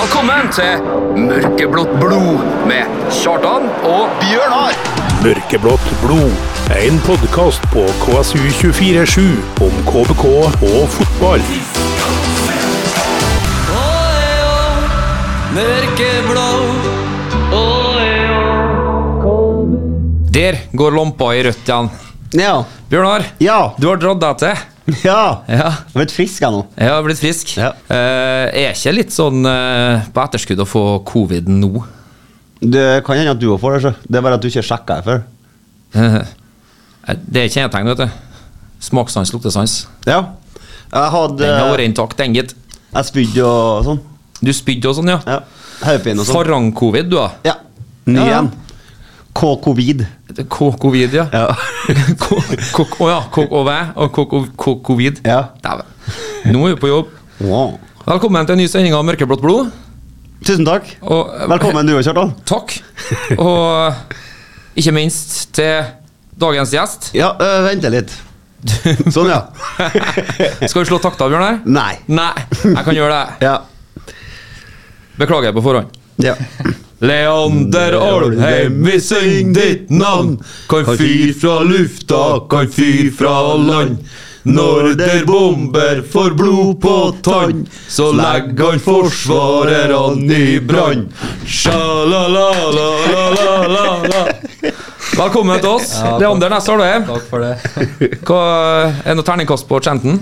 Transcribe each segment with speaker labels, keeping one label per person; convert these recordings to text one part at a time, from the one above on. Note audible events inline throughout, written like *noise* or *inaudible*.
Speaker 1: Velkommen til Mørkeblått blod med Kjartan og
Speaker 2: Bjørnar!
Speaker 3: Mørkeblått blod. En podkast på KSU247 om KBK og fotball.
Speaker 4: Der går lompa i rødt igjen.
Speaker 5: Ja.
Speaker 4: Bjørnar,
Speaker 5: Ja.
Speaker 4: du har dratt deg til.
Speaker 5: Ja. Jeg
Speaker 4: Ja,
Speaker 5: har blitt frisk jeg nå.
Speaker 4: jeg har blitt frisk.
Speaker 5: Ja.
Speaker 4: Eh, er ikke litt sånn eh, på etterskudd å få covid nå? *laughs*
Speaker 5: Det kan hende at du òg får det. Så. Det er bare at du ikke sjekka det før.
Speaker 4: Eh, det er kjennetegn, vet du. Smakssans, luktesans.
Speaker 5: Ja. Jeg hadde
Speaker 4: Den har vært intakt, den, gitt.
Speaker 5: Jeg spydde og sånn.
Speaker 4: Du spydde og sånn, ja.
Speaker 5: Ja. Hodepine og sånn.
Speaker 4: Farang-covid, du, da.
Speaker 5: Ja. Ny
Speaker 4: Ja, ja.
Speaker 5: en. K-covid.
Speaker 4: K-covid, ja.
Speaker 5: *laughs* Ja.
Speaker 4: K- K- Å ja. KKV og K- K- covid.
Speaker 5: Ja.
Speaker 4: Dæven. Nå er vi på jobb.
Speaker 5: Wow.
Speaker 4: Velkommen til en ny sending av Mørkeblått blod.
Speaker 5: Tusen takk.
Speaker 4: Og, eh,
Speaker 5: Velkommen du òg, Kjartan.
Speaker 4: *laughs* Takk. Og eh, ikke minst til dagens
Speaker 5: *laughs*
Speaker 4: gjest.
Speaker 5: Ja, øh, vente litt. Sånn, ja.
Speaker 4: Skal vi slå takta, Bjørnar?
Speaker 5: Nei.
Speaker 4: Nei, jeg kan gjøre det.
Speaker 5: Ja.
Speaker 4: Beklager på forhånd.
Speaker 5: ja.
Speaker 4: Leander Alheim, vi syng ditt navn. Kan fyr fra lufta, kan fyr fra land. Når der bomber får blod på tann, så legger han forsvarerne i brann. Sja-la-la-la-la-la-la. Velkommen til
Speaker 6: *laughs*
Speaker 4: oss. Leander Ness Alheim.
Speaker 6: Takk for det.
Speaker 4: *laughs* Hva er det noe terningkast på Chanton?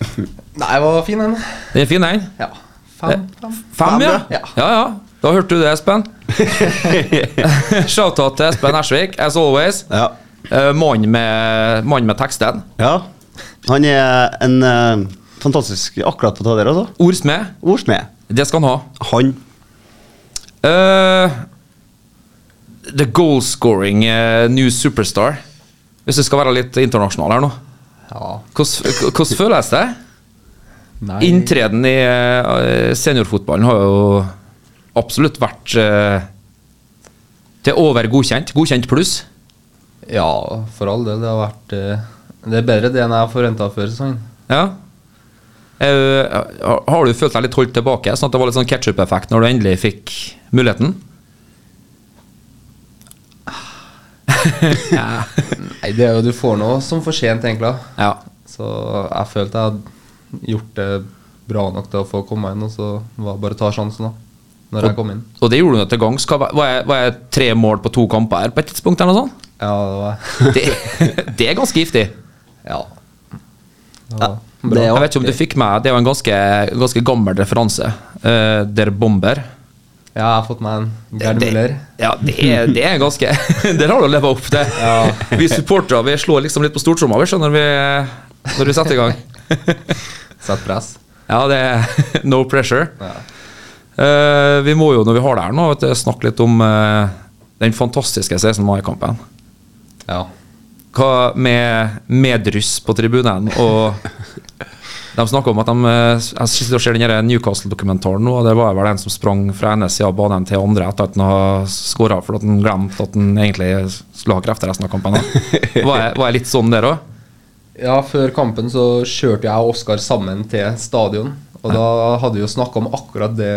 Speaker 6: Nei, det var fin, den.
Speaker 4: Den er fin, den.
Speaker 6: Ja. Fem, fem.
Speaker 4: Fem, ja.
Speaker 6: ja.
Speaker 4: ja, ja. Da hørte du det, Espen. *laughs* Shout-out til Espen Ersvik, as always.
Speaker 5: ja.
Speaker 4: Eh, Mannen med, mann med teksten.
Speaker 5: *laughs* ja. Han er en øh, fantastisk akkurat på det der, altså.
Speaker 4: Ordsmed.
Speaker 5: Ordsmed.
Speaker 4: Det skal han ha.
Speaker 5: Han.
Speaker 4: Eh, the goalscoring eh, new superstar. Hvis du skal være litt internasjonal her nå.
Speaker 6: ja.
Speaker 4: Hvordan hvordan føles det?
Speaker 6: Nei.
Speaker 4: Inntreden i eh, seniorfotballen har jo absolutt vært eh, til over godkjent. Godkjent pluss.
Speaker 6: Ja, for all del. Det har vært eh, Det er bedre det enn jeg forventa før sesongen.
Speaker 4: Ja. Eh, har du følt deg litt holdt tilbake? Sånn at det var litt sånn ketsjup-effekt når du endelig fikk muligheten?
Speaker 6: Nei, det er jo du får noe som for sent, egentlig. da.
Speaker 4: Ja.
Speaker 6: Så jeg følte jeg hadde gjort det bra nok til å få komme inn, og så var det bare å ta sjansen, da. Når jeg kom inn.
Speaker 4: Og det gjorde du nå til gangs. Hva Var var jeg- var jeg tre mål på to kamper her på et tidspunkt? eller noe sånt?
Speaker 6: Ja, det var *laughs*
Speaker 4: Det, *laughs* det er ganske giftig.
Speaker 6: Ja. Det
Speaker 5: Ja,
Speaker 6: var
Speaker 5: det er
Speaker 4: Jeg
Speaker 5: jo
Speaker 4: vet ikke om du fikk med Det er jo en ganske, ganske gammel referanse. Eh, der bomber.
Speaker 6: Ja, jeg har fått meg en Gerd Müller.
Speaker 4: Det, ja, det er, det er ganske *laughs* Der har du leva opp til. Vi supportere vi slår liksom litt på stortromma vi, skjønner, når vi, når vi setter i gang.
Speaker 6: Sett press.
Speaker 4: Ja, det er *laughs* no pressure.
Speaker 6: Ja.
Speaker 4: Eh, vi må jo, når vi har det her nå, vet du, snakke litt om eh, den fantastiske 16. mai-kampen.
Speaker 6: Ja.
Speaker 4: Hva med medruss på tribunen og De snakker om at de eh, Jeg sitter og ser den her Newcastle-dokumentaren nå, og det var vel en som sprang fra ene sida av banen til andre etter at han har skåra fordi at han glemte at han egentlig skulle ha krefter resten av kampen. da. Var jeg, var jeg litt sånn der òg?
Speaker 6: Ja, før kampen så kjørte jeg og Oskar sammen til stadion. Og da hadde vi jo snakka om akkurat det,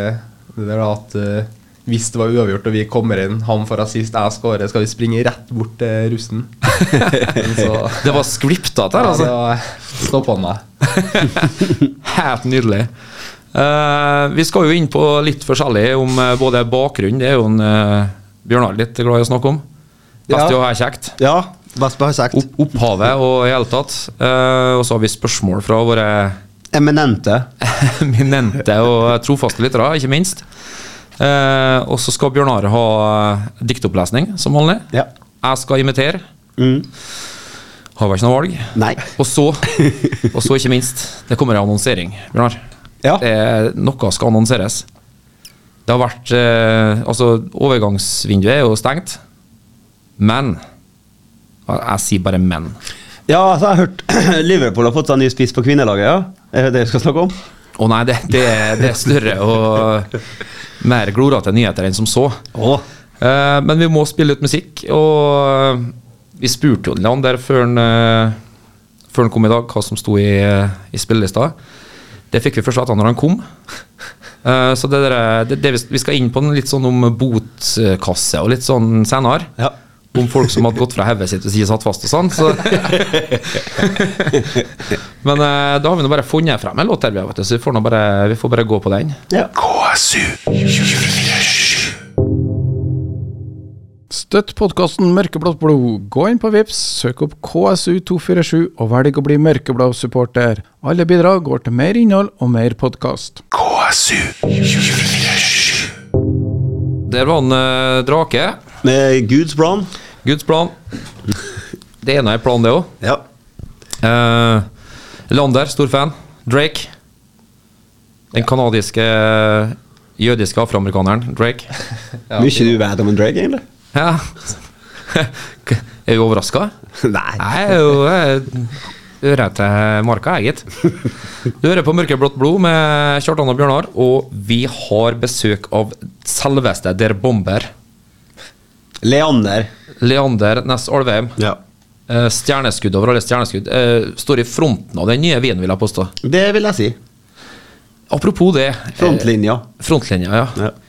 Speaker 6: det der da, at eh, hvis det var uavgjort og vi kommer inn, han får assist, jeg skårer, skal vi springe rett bort til russen? Men *laughs* så *laughs*
Speaker 4: Det var skvipta der,
Speaker 6: ja,
Speaker 4: altså.
Speaker 6: det stoppa han meg.
Speaker 4: *laughs* Helt nydelig. Eh, vi skal jo inn på litt forskjellig om eh, både bakgrunn Det er jo en eh, Bjørnar litt glad i å snakke om. Best i å ha kjekt.
Speaker 5: Ja. Best på å ha sagt.
Speaker 4: Opp, opphavet og i hele tatt. Eh, og så har vi spørsmål fra våre *laughs*
Speaker 5: Eminente.
Speaker 4: eminente og eh, trofaste lyttere, ikke minst. Eh, og så skal Bjørnar ha eh, diktopplesning, som vanlig.
Speaker 5: Ja.
Speaker 4: Jeg skal imitere.
Speaker 5: Mm.
Speaker 4: Har vel ikke noe valg.
Speaker 5: Nei.
Speaker 4: Og så, og så ikke minst, det kommer en annonsering, Bjørnar.
Speaker 5: Ja.
Speaker 4: Det er- noe skal annonseres. Det har vært eh, Altså, overgangsvinduet er jo stengt, men Jeg, jeg sier bare men.
Speaker 5: Ja, altså, jeg har hørt *clears throat* Liverpool har fått seg en ny spiss på kvinnelaget, ja. Er det det vi skal snakke om?
Speaker 4: Å nei, det, det, er- det er større og mer glorete nyheter enn som så.
Speaker 5: Å.
Speaker 4: Eh, men vi må spille litt musikk, og eh, vi spurte jo Leander før han eh, før han kom *laughs* i dag, hva som sto i, eh, i spillelista. Det fikk vi først vite når han kom. Eh, Så det, der, det, det vi- vi skal inn på en litt sånn om botkasse og litt sånn senere.
Speaker 5: Ja.
Speaker 4: Om folk som hadde gått fra hodet sitt hvis de satt fast og sånn. Så. Men eh, da har vi nå bare funnet frem en låt her, vi har, vet du, så vi får, nå bare, vi får bare gå på den.
Speaker 3: KSU.
Speaker 2: Støtt podkasten Mørkeblått blod. Gå inn på Vips, søk opp KSU247 og velg å bli mørkeblå supporter. Alle bidrag går til mer innhold og mer podkast.
Speaker 4: Der var han eh, Drake.
Speaker 5: Med Guds plan.
Speaker 4: Guds plan. Det ene er plan, det òg.
Speaker 5: Ja.
Speaker 4: Eh, Lander, stor fan. Drake. Den kanadiske jødiske afroamerikaneren Drake.
Speaker 6: Ja,
Speaker 5: Mye du vet om en drag, egentlig?
Speaker 4: Ja. Er du overraska?
Speaker 5: *laughs* Nei.
Speaker 4: Jeg er jo jeg er ørete marka, jeg, gitt. Du hører på Mørkeblått blod med Kjartan og Bjørnar, og vi har besøk av selveste Der Bomber.
Speaker 5: Leander.
Speaker 4: Leander Næss Alvheim.
Speaker 5: Ja.
Speaker 4: Eh, Stjerneskudd over alle stjerneskudd. eh, Står i fronten av den nye vinen, vil jeg påstå.
Speaker 5: Det vil jeg si.
Speaker 4: Apropos det. eh,
Speaker 5: Frontlinja.
Speaker 4: Frontlinja, ja. Eh,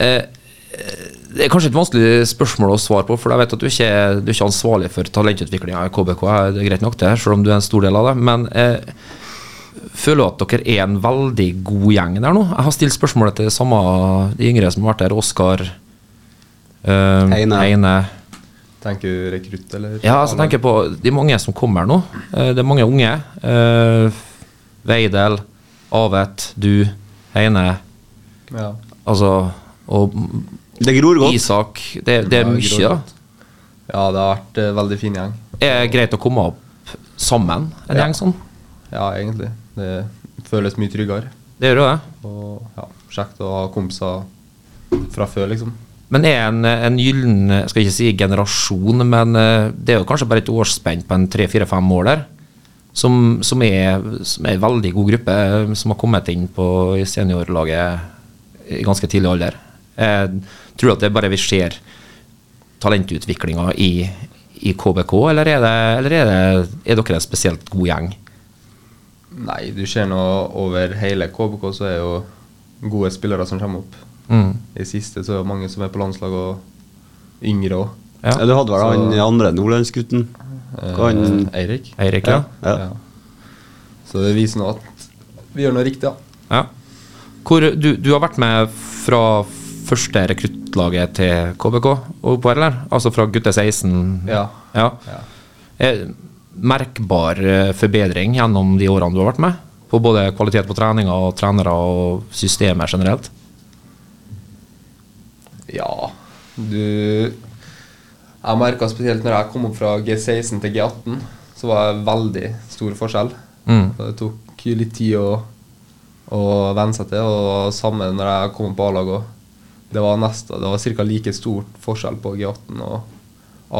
Speaker 5: Ja.
Speaker 4: Det er kanskje et vanskelig spørsmål å svare på, for jeg vet at du ikke er, du er ikke ansvarlig for talentutviklinga i KBK. Det er greit nok, det, selv om du er en stor del av det. Men eh, føler du at dere er en veldig god gjeng der nå? Jeg har stilt spørsmålet til samme de yngre som har vært der. Oskar. Eh,
Speaker 5: Heine.
Speaker 6: Tenker du rekrutt, eller?
Speaker 4: Ja, altså, jeg tenker på de mange som kommer nå. Eh, det er mange unge. Eh, Veidel, Avet, du, Heine.
Speaker 6: Ja.
Speaker 4: Altså og
Speaker 5: Det gror godt.
Speaker 4: Isak. Det, det er
Speaker 6: Ja,
Speaker 4: mye, da.
Speaker 6: Grodbot. ja, det har vært eh, veldig fin gjeng.
Speaker 4: er det greit å komme opp sammen, en gjeng sånn.
Speaker 6: Ja, egentlig. Det føles mye tryggere.
Speaker 4: Det gjør jo det.
Speaker 6: Og ja, kjekt å ha kompiser fra før, liksom.
Speaker 4: Men er en, en gyllen jeg skal ikke si generasjon, men eh, det er jo kanskje bare et årsspenn på en tre-fire-fem år der, som, som, er, som er en veldig god gruppe, eh, som har kommet inn på i seniorlaget i ganske tidlig alder. Jeg tror at det er bare vi ser talentutviklinga i, i KBK, eller, er, det, eller er, det, er dere en spesielt god gjeng?
Speaker 6: Nei, du ser nå over hele KBK, så er jo gode spillere som kommer opp. I siste så er det mange som er på landslag, og yngre òg.
Speaker 4: Ja.
Speaker 5: Ja, Eh. du hadde vel han andre nordlandsgutten? Hva han
Speaker 6: Eh, Eirik.
Speaker 4: Eirik, ja.
Speaker 5: Ja.
Speaker 6: Så det viser nå at vi gjør noe riktig, ja.
Speaker 4: Ja. Hvor, du, du har vært med fra første rekruttlaget til KBK og oppover, eller? Altså fra gutte 16?
Speaker 6: Ja.
Speaker 4: ja. Eh, Merkbar eh, forbedring gjennom de årene du har vært med? På både kvalitet på treninga og trenere og systemet generelt?
Speaker 6: Ja, du Jeg merka spesielt når jeg kom opp fra G16 til G18, så var det veldig stor forskjell. Og Det tok litt tid å, å venne seg til, og samme når jeg kom opp på A-lag òg. Det var, neste- det var ca. like stort forskjell på G18 og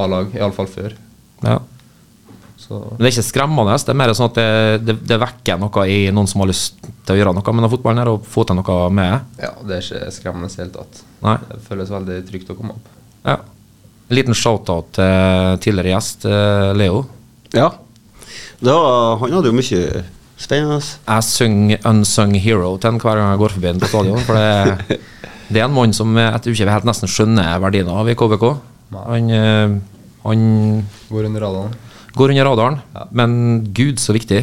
Speaker 6: A-lag, iallfall før.
Speaker 4: Ja.
Speaker 6: Så
Speaker 4: Men det er ikke skremmende. Det er mer sånn at det, det, det vekker noe i noen som har lyst til å gjøre noe med denne fotballen her, og få til noe med det.
Speaker 6: ja, det er ikke skremmende i det hele tatt.
Speaker 4: Nei.
Speaker 6: Det føles veldig trygt å komme opp.
Speaker 4: Ja. En liten shout-out til tidligere gjest, eh, Leo.
Speaker 5: Ja. Da, han hadde jo mye spennende.
Speaker 4: jeg synger Unsung Hero til han hver gang jeg går forbi han på stadion. For det, det er en mann som jeg tror ikke vi helt nesten skjønner verdien av i KBK. Han, eh, han
Speaker 6: Går under radaren.
Speaker 4: går under radaren, men gud, så viktig.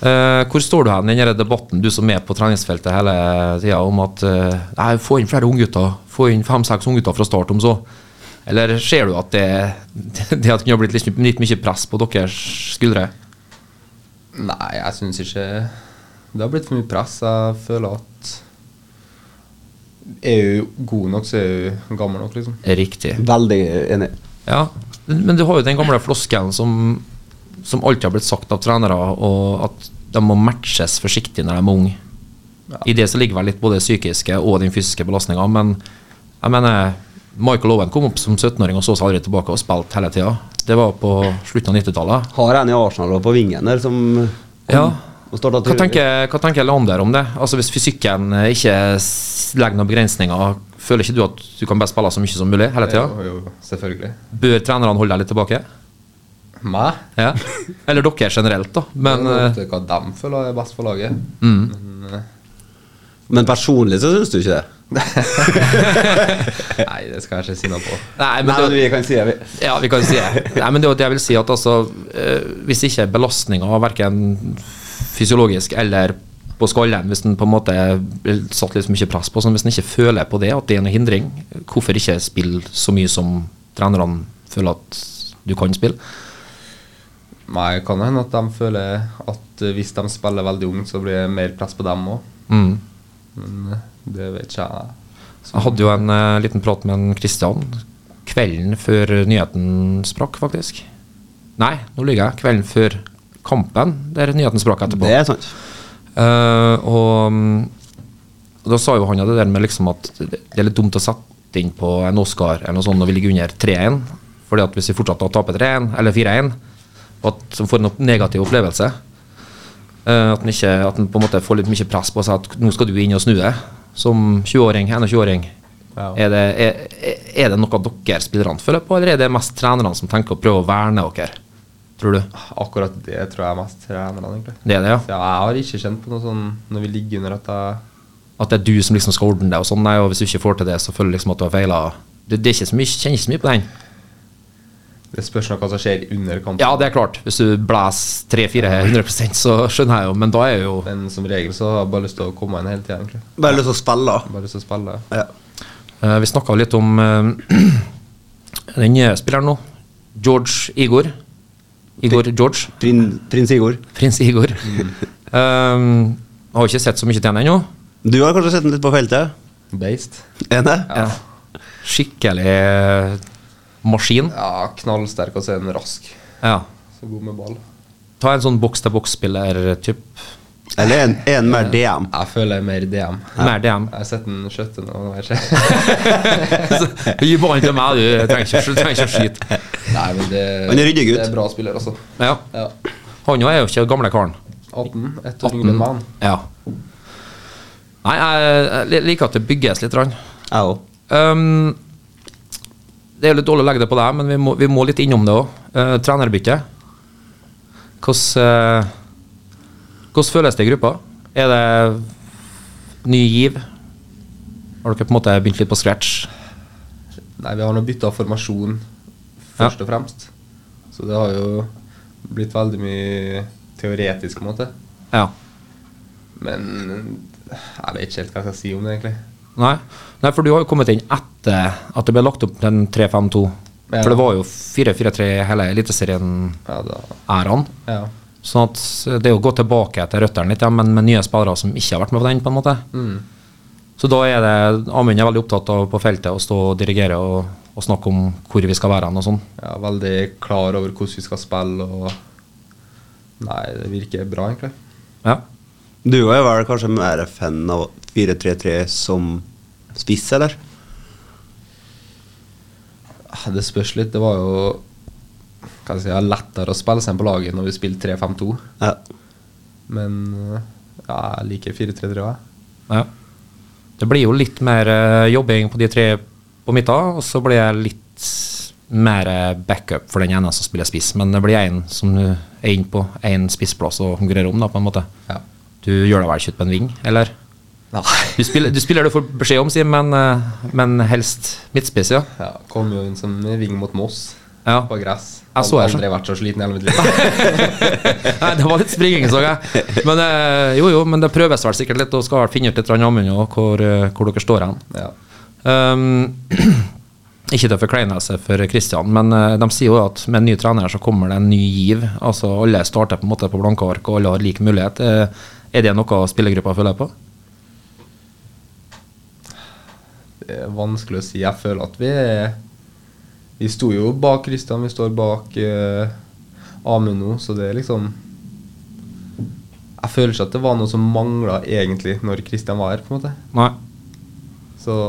Speaker 4: Eh, hvor står du hen i denne debatten, du som er på treningsfeltet hele tida, om at eh, nei, få inn flere unggutter? Få inn fem-seks unggutter fra start, om så? Eller ser du at det, *laughs* det at det kunne ha blitt litt, litt mye press på deres skuldre?
Speaker 6: Nei, jeg syns ikke Det har blitt for mye press. Jeg føler at Er du god nok, så er du gammel nok, liksom.
Speaker 4: Riktig.
Speaker 5: Veldig enig.
Speaker 4: Ja, men men du har jo den gamle floskelen som, som alltid har blitt sagt av trenere, og at de må matches forsiktig når de er unge. I det så ligger vel litt både det psykiske og den fysiske belastninga, men jeg mener Michael Owen kom opp som 17-åring og så seg aldri tilbake og spilte hele tida. Det var på slutten av 90-tallet.
Speaker 5: Har en i Arsenal og på vingen der som
Speaker 4: Ja.
Speaker 5: og startet
Speaker 4: Hva
Speaker 5: til-
Speaker 4: tenker, hva tenker Leander om det? Altså Hvis fysikken eh, ikke s- legger noen begrensninger, føler ikke du at du kan bare spille så mye som mulig hele tida?
Speaker 6: Jo, jo, selvfølgelig.
Speaker 4: Bør trenerne holde deg litt tilbake?
Speaker 6: Meg?
Speaker 4: Ja. Eller dere generelt, da. Men
Speaker 6: Men
Speaker 4: eh, *laughs*
Speaker 6: Hva de føler er best for laget. Men eh,
Speaker 5: Men personlig så syns du ikke det?
Speaker 6: Nei, det skal jeg ikke si noe på.
Speaker 4: Nei, men
Speaker 5: Nei,
Speaker 4: det,
Speaker 5: men vi kan si det. vi.
Speaker 4: Ja, vi kan si det. Nei, men det er jo at jeg vil si at altså, eh, hvis ikke belastninga verken fysiologisk eller på skallen, hvis en på en måte blir satt litt for mye press på, sånn, hvis en ikke føler på det, at det er noen hindring, hvorfor ikke spille så mye som trenerne føler at du kan spille?
Speaker 6: Nei, det kan hende at de føler at eh, hvis de spiller veldig ungt, så blir det mer press på dem òg.
Speaker 4: Mm.
Speaker 6: Men eh, det vet ikke jeg.
Speaker 4: Jeg hadde jo en eh, liten prat med en Kristian kvelden før nyheten sprakk, faktisk. Nei, nå lyver jeg. Kvelden før kampen der nyheten sprakk etterpå.
Speaker 5: Det er sant.
Speaker 4: Eh, og mm, da sa jo han ja, det der med liksom at det det er litt dumt å sette inn på en Oscar eller noe sånt når vi ligger under 3-1. Fordi at hvis vi fortsatt da taper 3-1 eller 4-1, og at man får en opp- negativ opplevelse eh, At man ikke, at man på en måte får litt mye press på seg at nå skal du inn og snu det. Som 20-åring, 21-åring. Er, det, er, er det noe dere spillerne føler på, eller er det mest trenerne som tenker å prøve å verne dere? Tror du?
Speaker 6: Akkurat det tror jeg er mest trenerne, egentlig.
Speaker 4: Det er det, ja?
Speaker 6: Så jeg har ikke kjent på noe sånn når vi ligger under at jeg
Speaker 4: At det er du som liksom skal ordne det, og sånn, nei, og hvis du ikke får til det, så føler du liksom at du har feila. Det, det er ikke så mye, kjenner ikke så mye på den.
Speaker 6: Det spørs nå hva som skjer under kampen.
Speaker 4: Ja, det er klart. Hvis du blæser 3-4-100 så skjønner jeg jo, men da er jo
Speaker 6: Men som regel så har jeg bare lyst til å komme inn hele tida, egentlig.
Speaker 5: Bare lyst til å spille. da.
Speaker 6: Bare lyst til å spille.
Speaker 5: Ja.
Speaker 4: Eh, Vi snakka litt om eh, *clears throat* den nye spilleren nå. George Igor. Igor George.
Speaker 5: Prin, Prins Igor.
Speaker 4: Prins Igor. *laughs* Eh, har jo ikke sett så mye til han ennå.
Speaker 5: Du har kanskje sett den litt på feltet?
Speaker 6: Based.
Speaker 5: Er det?
Speaker 4: Ja. Skikkelig maskin.
Speaker 6: Ja, knallsterk og så er den rask.
Speaker 4: Ja.
Speaker 6: Så god med ball.
Speaker 4: Ta en sånn boks-til-boks-spiller-type.
Speaker 5: Eller en, en mer DM?
Speaker 6: Jeg føler mer DM.
Speaker 4: Mer DM.
Speaker 6: Jeg har sett den skjøtte nå. nå vet jeg ikke.
Speaker 4: Gi ballen til meg, du trenger ikke, du trenger ikke å skyte.
Speaker 6: Nei, men det,
Speaker 5: Han er ryddig gutt.
Speaker 6: det er bra spiller, altså.
Speaker 4: Ja.
Speaker 6: Ja.
Speaker 4: Han jo er jo ikke den gamle karen.
Speaker 6: 18. Ett år yngre enn meg. han.
Speaker 4: Ja. Nei, jeg, jeg liker at det bygges litt. Rann.
Speaker 5: Jeg òg.
Speaker 4: Um, det er jo litt dårlig å legge det på deg, men vi må, vi må litt innom det òg. Uh, trenerbytte. Hvordan eh, hvordan føles det i gruppa? Er det ny giv? Har dere på en måte begynt litt på scratch?
Speaker 6: Nei, vi har nå bytta formasjon, først og fremst. Så det har jo blitt veldig mye teoretisk, på en måte.
Speaker 4: Ja.
Speaker 6: Men jeg vet ikke helt hva jeg skal si om det, egentlig.
Speaker 4: Nei. Nei, for du har jo kommet inn etter at det ble lagt opp den 3-5-2.
Speaker 6: Ja.
Speaker 4: For det var jo 4-4-3 hele Eliteserien-æraen.
Speaker 6: Ja, da, ja.
Speaker 4: Sånn at det er jo å gå tilbake til røttene litt, ja, men med nye spillere som ikke har vært med på den, på en måte. Så da er det Amund er veldig opptatt av på feltet å stå og dirigere og, og snakke om hvor vi skal være hen og sånn.
Speaker 6: Jeg er veldig klar over hvordan vi skal spille og Nei, det virker bra, egentlig.
Speaker 4: Ja.
Speaker 5: Du er vel kanskje mer fan av 4-3-3 som spiss, eller?
Speaker 6: Ah, Det spørs litt. Det var jo hva skal jeg si, lettere å spille seg inn på laget når vi spilte 3-5-2.
Speaker 5: Ja.
Speaker 6: Men eh, ja, jeg liker 4-3-3 også, jeg.
Speaker 4: ja. Det blir jo litt mer eh, jobbing på de tre på midten, og så blir det litt mer eh, backup for den ene som spiller spiss, men det blir én som du er inne på én spissplass og konkurrerer om, da, på en måte.
Speaker 6: Ja.
Speaker 4: Du gjør deg vel ikke ut på en ving, eller? Du spiller, du spiller det du får beskjed om, Sim, men, eh, men helst midtspiss, ja.
Speaker 6: Ja, kom jo inn som ving mot Moss
Speaker 4: Ja.
Speaker 6: på gress.
Speaker 4: Jeg så
Speaker 6: Hadde
Speaker 4: jeg,
Speaker 6: aldri vært så sliten i hele mitt liv.
Speaker 4: Nei, det var litt springing, så jeg. Men eh, jo, jo, men det prøves vel sikkert litt, og skal vel finne ut litt Amund og hvor, eh, hvor dere står hen.
Speaker 6: Ja.
Speaker 4: Um, *clears throat* ikke til å forkleine seg for Kristian, men eh, de sier jo at med en ny trener så kommer det en ny giv. Altså Alle starter på en måte på blanke ark, og alle har lik mulighet. Eh, Er det noe spillergruppa føler på?
Speaker 6: Det er eh, vanskelig å si. Jeg føler at vi er Vi sto jo bak Kristian, vi står bak eh, Amund nå, så det er liksom Jeg føler ikke at det var noe som mangla egentlig når Kristian var her, på en måte.
Speaker 4: Nei.
Speaker 6: Så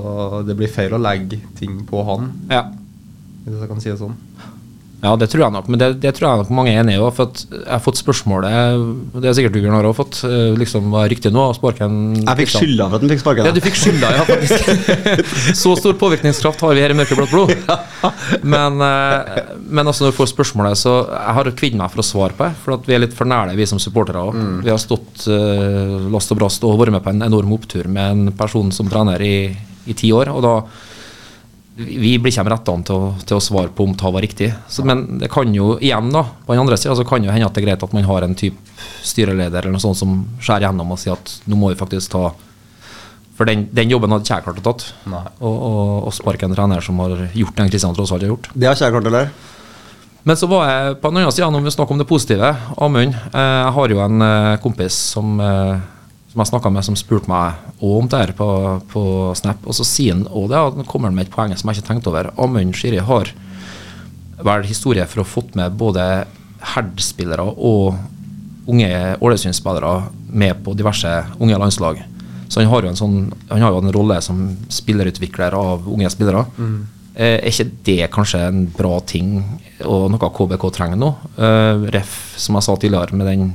Speaker 6: det blir feil å legge ting på han,
Speaker 4: Ja.
Speaker 6: hvis jeg kan si det sånn.
Speaker 4: Ja, det tror jeg nok, men det, det tror jeg nok mange er enig i. også, For at jeg har fått spørsmålet Det er sikkert du, Bjørn, har også fått. eh, Liksom, var det riktig nå å sparke en
Speaker 5: Jeg fikk skylda for at han fikk sparken.
Speaker 4: Ja, du fikk skylda, ja, faktisk. *laughs* Så stor påvirkningskraft har vi her i Mørkeblått blod. Men, eh, men altså, når du får spørsmålet, så Jeg har kvidd meg for å svare på det. For at vi er litt for nære, vi som supportere òg. Vi har stått eh, last og brast og vært med på en enorm opptur med en person som trener i, i ti år. Og da vi blir ikke rettene til, å- til å svare på om det var riktig. Så, men det kan jo igjen da, på den andre siden, så kan jo hende at det er greit at man har en type styreleder eller noe sånt som skjærer gjennom og sier at nå må vi faktisk ta For den, den jobben hadde ikke jeg klart å tatt.
Speaker 6: Nei.
Speaker 4: Og, og, og sparke en trener som har gjort den Kristian tross alt har gjort.
Speaker 5: Det har ikke jeg klart å lære.
Speaker 4: Men så var jeg på den andre siden, når vi snakker om det positive, Amund. eh, Jeg har jo en eh, kompis som, eh, som jeg snakka med, som spurte meg òg om det her på, på Snap. Og så sier han òg det, og nå kommer han med et poeng som jeg ikke tenkte over. Amund Shiri har vel historie for å ha fått med både Herd-spillere og unge Ålesund-spillere med på diverse unge landslag. Så han har jo en, sånn, han har jo en rolle som spillerutvikler av unge spillere. Eh, er ikke det kanskje en bra ting og noe KBK trenger nå? Eh, ref, som jeg sa tidligere, med den,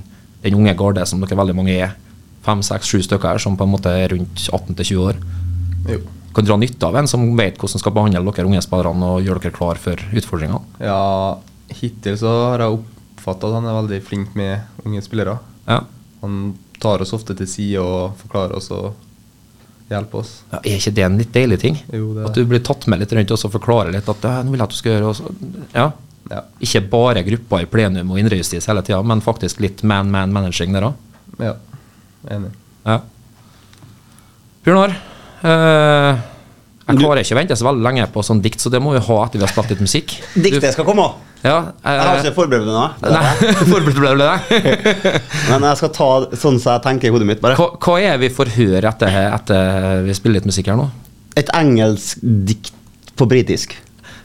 Speaker 4: den unge garde som dere veldig mange er. Fem, seks, sju stykker her som på en måte er rundt 18 til 20 år
Speaker 6: Jo.
Speaker 4: kan dra nytte av en som vet hvordan skal behandle dere unge spillerne og gjøre dere klar for utfordringene.
Speaker 6: Ja, hittil så har jeg oppfatta at han er veldig flink med unge spillere.
Speaker 4: Ja.
Speaker 6: Han tar oss ofte til side og forklarer oss og hjelper oss.
Speaker 4: Ja, er ikke det en litt deilig ting?
Speaker 6: Jo, det er
Speaker 4: At du blir tatt med litt rundt og så forklarer litt at «Ja, nå vil jeg at du skal gjøre og så, ja.
Speaker 6: Ja.
Speaker 4: Ikke bare grupper i plenum og indrejustis hele tida, men faktisk litt man-man-managing der òg.
Speaker 6: Ja, enig.
Speaker 4: Ja. Bjørnar, eh, jeg klarer ikke å vente så veldig lenge på sånn dikt, så det må vi ha etter vi har spilt litt
Speaker 5: *laughs*
Speaker 4: musikk.
Speaker 5: Diktet skal komme òg.
Speaker 4: Du, ja, eh,
Speaker 5: Jeg har ikke forberedt meg nå.
Speaker 4: Nei, *laughs* forberedt ble du det?
Speaker 5: Men jeg skal ta sånn som jeg tenker i hodet mitt. bare.
Speaker 4: Hva, hva er vi for hør etter, etter vi spiller litt musikk her nå?
Speaker 5: Et engelsk dikt på britisk.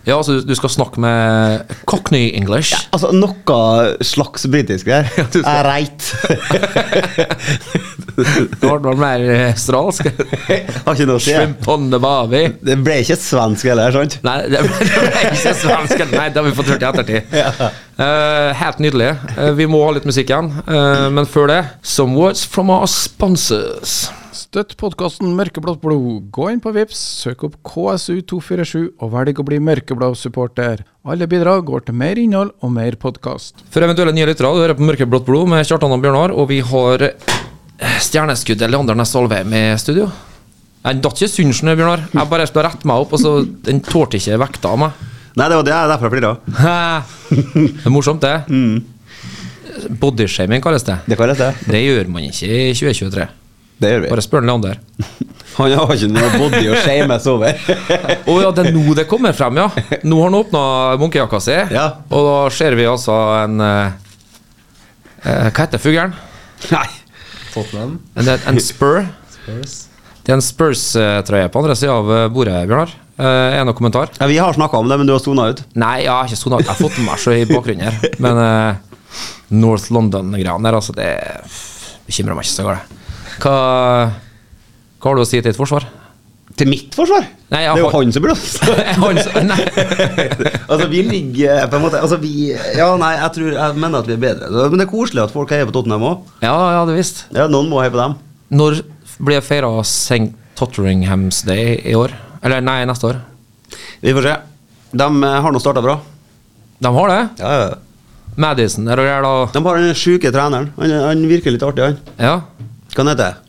Speaker 4: Ja, altså du- du skal snakke med Cockney English.
Speaker 5: Altså noe slags britisk der. Jeg er reit.
Speaker 4: Du har noe mer eh, australsk.
Speaker 5: Har ikke noe å si. jeg.
Speaker 4: Shrimp on the barbie.
Speaker 5: Det ble ikke svensk heller, sant?
Speaker 4: Nei, det *laughs* det ble ikke svensk. Nei, det har vi fått hørt i ettertid. Eh, helt nydelig. Eh, vi må ha litt musikk igjen. Eh, men før det, some words from our sponsors.
Speaker 2: Støtt podkasten Mørkeblått blod. Gå inn på Vips, søk opp KSU247 og velg å bli mørkeblå-supporter. Alle bidrag går til mer innhold og mer podkast.
Speaker 4: For eventuelle nye lyttere, du hører på Mørkeblått blod med Kjartan og Bjørnar, og vi har eh, stjerneskuddet Leander Næss Alvheim i studio. Jeg datt ikke i Sundsen, Bjørnar. Jeg bare skulle rette meg opp, og så den tålte ikke vekta av meg.
Speaker 5: Nei, det var det, derfor jeg flira.
Speaker 4: Det er morsomt, det. Bodyshaming kalles det.
Speaker 5: Det kalles det.
Speaker 4: Det gjør man ikke i 2023.
Speaker 5: Det gjør vi.
Speaker 4: Bare spør Leander.
Speaker 5: Han har ikke noe body å shames over.
Speaker 4: Å ja, det er nå det kommer frem, ja. Nå har han åpna munkejakka si,
Speaker 5: Ja.
Speaker 4: og da ser vi altså en eh, eh, Hva heter fuglen?
Speaker 5: *laughs* Nei.
Speaker 6: Tottenham,
Speaker 4: En, en spur?
Speaker 6: Spurs.
Speaker 4: Det er en Spurs-trøye på andre sida av eh, bordet, Bjørnar. Eh, er det noen kommentar?
Speaker 5: Ja, vi har snakka om det, men du har sona ut.
Speaker 4: Nei, jeg har ikke sona ut. Jeg har fått med meg så i bakgrunnen her. Men eh, North London-greiene der, altså, det bekymrer meg ikke så galt. Hva, hva har du å si til ditt forsvar? *laughs*
Speaker 5: Til mitt forsvar?
Speaker 4: Nei, jeg
Speaker 5: det er jo
Speaker 4: har-
Speaker 5: han som burde *laughs* ha
Speaker 4: Han sa- nei.
Speaker 5: altså, vi ligger på en måte altså, vi, Ja, nei, jeg, tror, jeg mener at vi er bedre. Så- Men det er koselig at folk heier på Tottenham òg.
Speaker 4: Ja, ja, det visst.
Speaker 5: Ja, noen må heie på dem.
Speaker 4: Når ble feira St. Totteringham's Day i år? Eller nei, neste år?
Speaker 5: Vi får se. De eh, har nå starta bra.
Speaker 4: De har det.
Speaker 5: Ja, ja.
Speaker 4: Madison er det der, da.
Speaker 5: De har den sjuke treneren. Han, han virker litt artig, han.
Speaker 4: Ja. *laughs*
Speaker 5: Hva han heter han?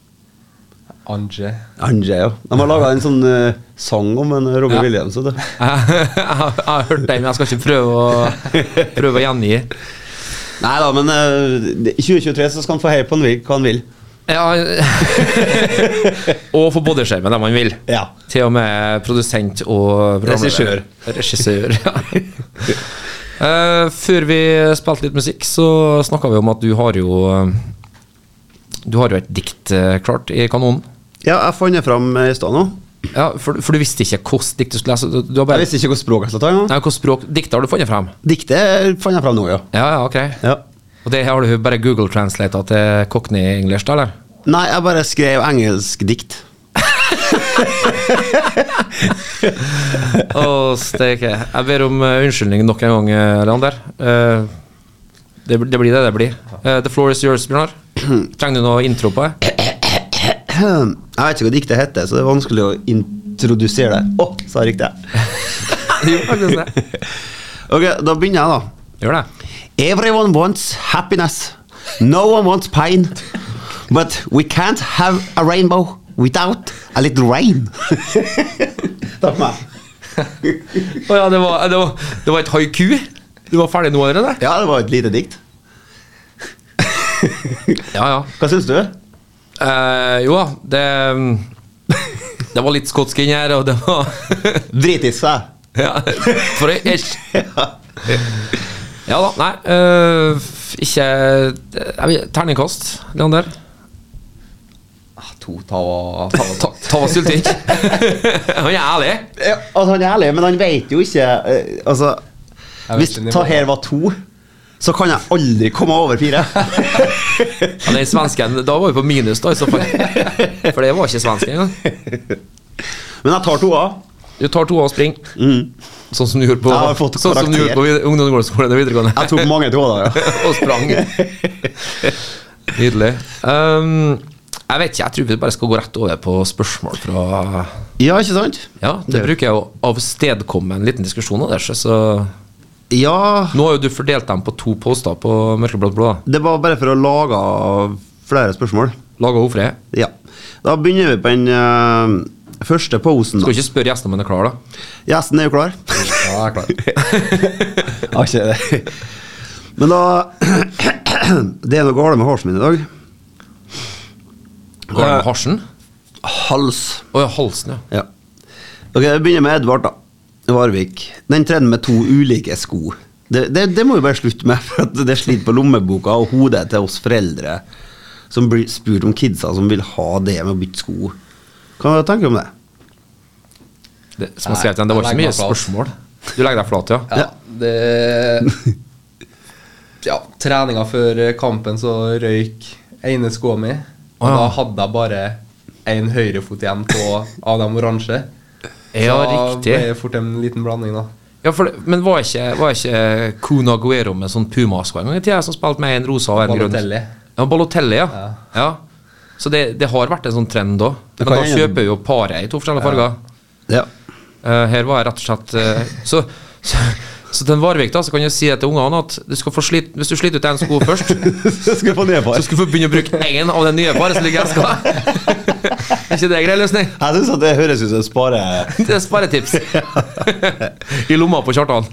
Speaker 6: Anje.
Speaker 5: Anje, ja. De har laga en sånn eh, sang om en Robbie
Speaker 4: Ja.
Speaker 5: Williams. vet du.
Speaker 4: Jeg, jeg, har- jeg har hørt den, men jeg skal ikke prøve å, prøve å gjengi.
Speaker 5: Nei da, men eh, det- i 2023 så skal han få heie på han vil, hva han vil.
Speaker 4: Ja *laughs* Og få bodyskjermen der man vil.
Speaker 5: Ja.
Speaker 4: Til og med produsent og programleder. Regissør.
Speaker 5: *laughs*
Speaker 4: ja. Eh, før vi spilte litt musikk, så snakka vi om at du har jo eh, Du har jo et dikt eh, klart i kanonen.
Speaker 5: Ja, jeg fant det fram eh, i stad nå.
Speaker 4: Ja, for, for du visste ikke hvilket dikt du skulle lese? Du, du har
Speaker 5: Jeg
Speaker 4: bare,
Speaker 5: visste ikke hvilket språk jeg skulle ta engang.
Speaker 4: nei, hvilket språk Diktet har du funnet frem?
Speaker 5: Diktet fant jeg fram nå, ja.
Speaker 4: Ja, ja, ok.
Speaker 5: ja.
Speaker 4: Og det har du bare Google translata til Cockney English, da, eller?
Speaker 5: Nei, jeg bare skrev engelsk dikt.
Speaker 4: Å, steike. Jeg ber om eh, unnskyldning nok en gang, eh, Leander. Eh, det, det blir det det blir. Eh, the floor is yours, Bjørnar. Trenger du noe intro på det?
Speaker 5: Jeg vet ikke hva diktet heter, så det er vanskelig å introdusere det. Å, sa jeg riktig.
Speaker 4: Jo, faktisk det.
Speaker 5: Ok, da begynner jeg, da.
Speaker 4: Gjør det.
Speaker 5: Everyone wants happiness. No one wants pain. But we can't have a rainbow without a little rain. *laughs* Takk for meg.
Speaker 4: Å ja, det var, det, var, det var et haiku? Du var ferdig nå allerede?
Speaker 5: Ja, det var et lite dikt.
Speaker 4: Ja, ja.
Speaker 5: Hva syns du?
Speaker 4: Eh, jo da, det Det var litt skotsk inni her, og det var *laughs*
Speaker 5: Dritis, sa jeg.
Speaker 4: ja, For ei æsj. Ja da, nei eh, Ikke eh, jeg vil, Terningkast, Leander.
Speaker 6: Ah, To ta var ta var
Speaker 4: Ta, ta oss Syltvik. Han er ærlig.
Speaker 5: Ja, altså, han er ærlig, men han vet jo ikke eh, Altså,
Speaker 6: Jeg vet
Speaker 5: hvis
Speaker 6: ikke nivået.
Speaker 5: ta her var to, så kan jeg aldri komme over *laughs* fire.
Speaker 4: Ja, den svensken Da var vi på minus, da, i så fall. For det var ikke svensk engang.
Speaker 5: men jeg tar toa.
Speaker 4: Du tar to og springer. Sånn som du gjorde på,
Speaker 5: Mm. Jeg har fått
Speaker 4: sånn som du gjorde på vid- ungdomsskolen og videregående.
Speaker 5: Jeg tok mange toer, da. ja.
Speaker 4: *laughs* og sprang. Nydelig. Ehm, jeg vet ikke, jeg tror vi bare skal gå rett over på spørsmål fra
Speaker 5: Ja, ikke sant?
Speaker 4: Ja, det bruker jeg å avstedkomme en liten diskusjon av det, så
Speaker 5: Ja,
Speaker 4: Nå har jo du fordelt dem på to poster på Mørkeblått blå. da.
Speaker 5: det var bare for å lage flere spørsmål.
Speaker 4: Laga Ofre.
Speaker 5: Ja. Da begynner vi på den eh, første posen.
Speaker 4: Skal
Speaker 5: da.
Speaker 4: ikke spørre gjestene om han er klar, da.
Speaker 5: Gjesten er jo *laughs* klar.
Speaker 6: Ja, jeg
Speaker 4: *laughs*
Speaker 6: er klar.
Speaker 5: Har ikke det. *laughs* Men da *clears throat* Det er noe galt med halsen min i dag.
Speaker 4: Går det med hasjen?
Speaker 5: Hals.
Speaker 4: Å ja, Eh, halsen, ja.
Speaker 5: Ja. Ok, Vi begynner med Edvard, da. Varvik. Den trener med to ulike sko. Det, det, det må vi bare slutte med, *laughs* for at det sliter på lommeboka og hodet til oss foreldre som blir spurt om kidsa som vil ha det med å bytte sko. Hva tenker du om det?
Speaker 4: Det, som jeg skrev til den, det
Speaker 6: Nei,
Speaker 4: var ikke så
Speaker 6: jeg
Speaker 4: mye
Speaker 6: legger meg
Speaker 4: spørsmål. Du legger deg flat, ja.
Speaker 6: Ja, det Ja, treninga før kampen så røyk ene skoa mi. Og da hadde jeg bare én høyrefot igjen på av de oransje.
Speaker 4: Ja,
Speaker 6: Så ble
Speaker 4: riktig.
Speaker 6: det fort en liten blanding, da.
Speaker 4: Ja, for, det- men var ikke, var ikke Kuna Guero med sånn pumasko en gang i tida, som spilte med en rosa og en grønn?
Speaker 6: Balotelli.
Speaker 4: Ja, Balotelli, ja. ja.
Speaker 6: Ja.
Speaker 4: Så det, det har vært en sånn trend òg.
Speaker 5: Det
Speaker 4: Men da
Speaker 5: kan hende-
Speaker 4: kjøper jo paret i to forskjellige farger.
Speaker 5: *laughs* Ja.
Speaker 4: Eh, her var jeg rett og slett eh, så, så, så til en Varvik da, så kan jeg si til ungene at du skal få slit, hvis du sliter ut én sko først,
Speaker 5: Skal få nedpar.
Speaker 4: så skal du få begynne å bruke én av det nye paret som ligger i eska. *laughs* er ikke det grei løsning?
Speaker 5: Jeg syns det høres ut som spare... *laughs*
Speaker 4: *laughs* Det er sparetips. I lomma på Kjartan.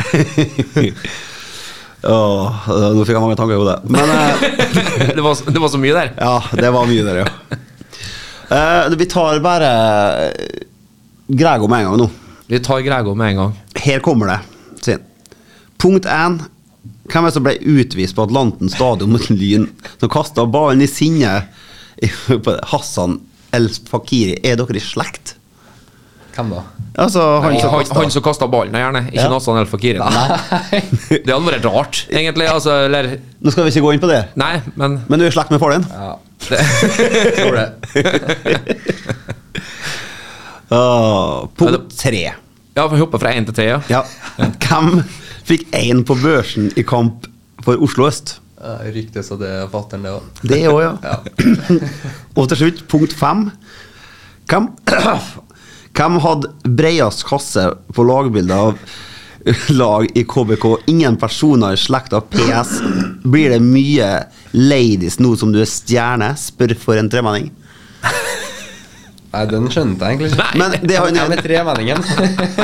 Speaker 5: Åh, nå fikk jeg mange tanker i hodet. Men eh,
Speaker 4: *laughs* Det var, det var så mye der.
Speaker 5: ja, det var mye der, ja. Eh, vi tar bare eh, Grego med en gang nå.
Speaker 4: Vi tar Grego med en gang.
Speaker 5: Her kommer det. Siden. Punkt 1. Hvem er det som ble utvist på Atlanten stadion mot Lyn, som kasta ballen i sinne på Hassan El Fakiri? Er dere i slekt?
Speaker 6: Hvem da?
Speaker 5: Altså, han
Speaker 4: Han,
Speaker 5: som
Speaker 4: han,
Speaker 5: kastet-
Speaker 4: som kasta ballen, ja, gjerne. Ikke
Speaker 5: Ja.
Speaker 4: Nassan El Fakiri. Det hadde vært rart, egentlig. Altså, eller
Speaker 5: Nå skal vi ikke gå inn på det,
Speaker 4: Nei, men
Speaker 5: men du er i slekt med faren din?
Speaker 6: Ja. Tror det.
Speaker 5: Ah,
Speaker 4: Ja,
Speaker 5: punkt
Speaker 4: det-
Speaker 5: 3.
Speaker 4: Ja, vi hopper fra én til tre, ja.
Speaker 5: Ja. Hvem fikk én på børsen i kamp for Oslo øst?
Speaker 6: Ja, Ryktes at det er fatter'n, det òg.
Speaker 5: Det òg, ja. Og til slutt, punkt fem. Hvem, hvem hadde breiest kasse på lagbildet av lag i KBK? Ingen personer i slekta PS. Blir det mye ladies nå som du er stjerne? Spør for en tremenning.
Speaker 6: Nei, den skjønte jeg egentlig ikke.
Speaker 5: Men det,
Speaker 6: Han er
Speaker 5: han,
Speaker 6: med tremenningen.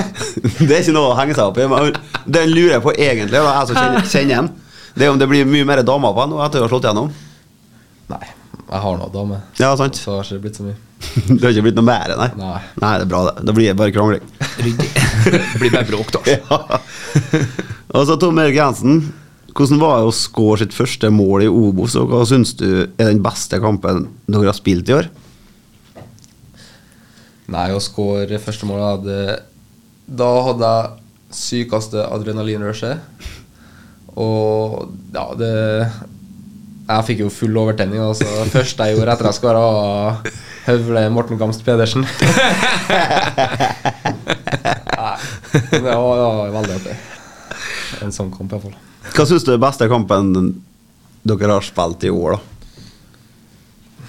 Speaker 6: *laughs*
Speaker 5: det er ikke noe å henge seg opp i. men Den lurer jeg på egentlig, og det er jeg som kjenner, kjenner ham. Det er om det blir mye mer damer på ham nå etter å ha slått gjennom.
Speaker 6: Nei, jeg har nå dame.
Speaker 5: Ja, sant.
Speaker 6: Så har det ikke blitt så mye.
Speaker 5: Det har ikke blitt noe mer, nei.
Speaker 6: Nei.
Speaker 5: Nei, det er bra, det. Da blir det bare krangling.
Speaker 4: Det *laughs* blir bare bråk, da.
Speaker 5: Ja. Og så Tom Erik Jensen. Hvordan var det å score sitt første mål i Obos, og hva syns du er den beste kampen dere har spilt i år?
Speaker 6: Nei, å score første mål jeg hadde Da hadde jeg sykeste adrenalinrushet. Og ja, det Jeg fikk jo full overtenning. Altså. Først jeg gjorde etter jeg skåra, var Høvle Morten Gamst Pedersen. Nei, det var, det var veldig artig. En sånn kamp, iallfall.
Speaker 5: Hva syns du er beste kampen dere har spilt i år, da?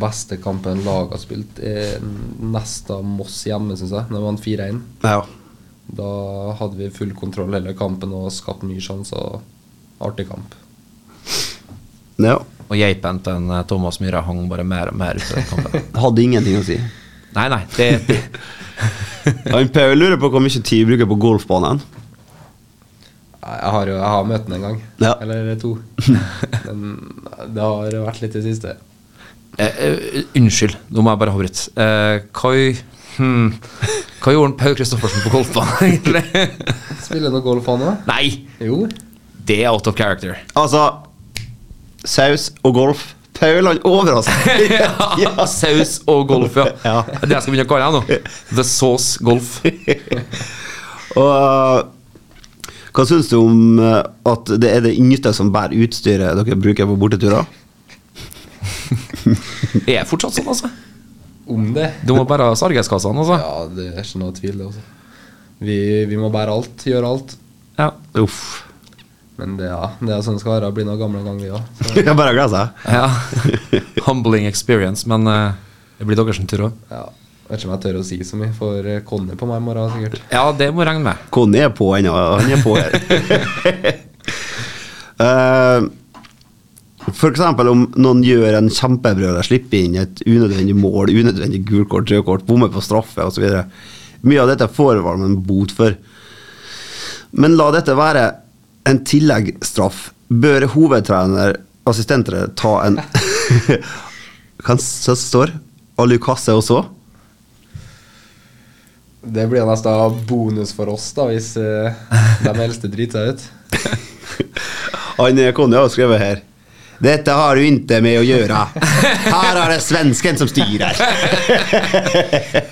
Speaker 6: Beste kampen laget har spilt, er Nesta Moss hjemme, syns jeg. Når man 4-1.
Speaker 5: Ja.
Speaker 6: Da hadde vi full kontroll hele kampen og skapt mye sjanser. Artig kamp.
Speaker 5: ja.
Speaker 4: Og geipen til en, eh, Thomas Myhre hang bare mer og mer ut i den kampen.
Speaker 5: Hadde ingenting å si.
Speaker 4: Nei, nei, det, det
Speaker 5: Han Per lurer på hvor mye tid vi bruker på golfbanen.
Speaker 6: Nei, Jeg har jo jeg har møtt den en gang.
Speaker 5: Ja.
Speaker 6: Eller to. Men eh, det har vært litt i det siste.
Speaker 4: eh, eh, Unnskyld, nå må jeg bare avbryte. Eh, hva, hmm, hva gjorde han Paul Kristoffersen på golfbanen, *laughs* egentlig?
Speaker 6: Spiller noe golf han òg?
Speaker 4: Nei,
Speaker 6: Jo.
Speaker 4: det er out of character.
Speaker 5: Altså Saus og golf. Paul, han *laughs* overrasker.
Speaker 4: ja, *laughs* saus og golf, ja.
Speaker 5: Ja.
Speaker 4: Det er det jeg skal begynne å kalle det nå. The sauce golf.
Speaker 5: Og eh, hva syns du om eh, at det er det yngste som bærer utstyret dere bruker på borteturer?
Speaker 4: Det er fortsatt sånn, altså.
Speaker 6: Om det.
Speaker 4: Du må bare ha sargeskassene, altså.
Speaker 6: Ja, det er ikke noe tvil, det. Også. Vi, vi må bære alt, gjøre alt.
Speaker 4: Ja.
Speaker 5: Uff.
Speaker 6: Men det, ja, det er sånn det skal være. Blir noen gamle en gang, vi òg.
Speaker 5: *laughs* Jeg bare gleder seg.
Speaker 4: ja. *laughs* Humbling experience, men eh, det blir deres tur òg.
Speaker 6: Ja. Jeg Vet ikke om jeg tør å si så mye, for eh, Conny på meg i morgen sikkert.
Speaker 4: Ja, det må regne med.
Speaker 5: Conny er på ennå. Han er på her. Eh, For eksempel om noen gjør en kjempebrøler, slipper inn et unødvendig mål, unødvendig gult kort, rødt kort, bommer på straffe osv. Mye av dette får man en bot for. Men la dette være en tilleggsstraff. Bør hovedtrener, assistentere, ta en Hva s- står Alucasse også?
Speaker 6: Det blir nesten bonus for oss, da, hvis eh, de eldste driter seg ut.
Speaker 5: Han eh, Conny har skrevet her Dette har du inte med å gjøre Her er det svensken som styrer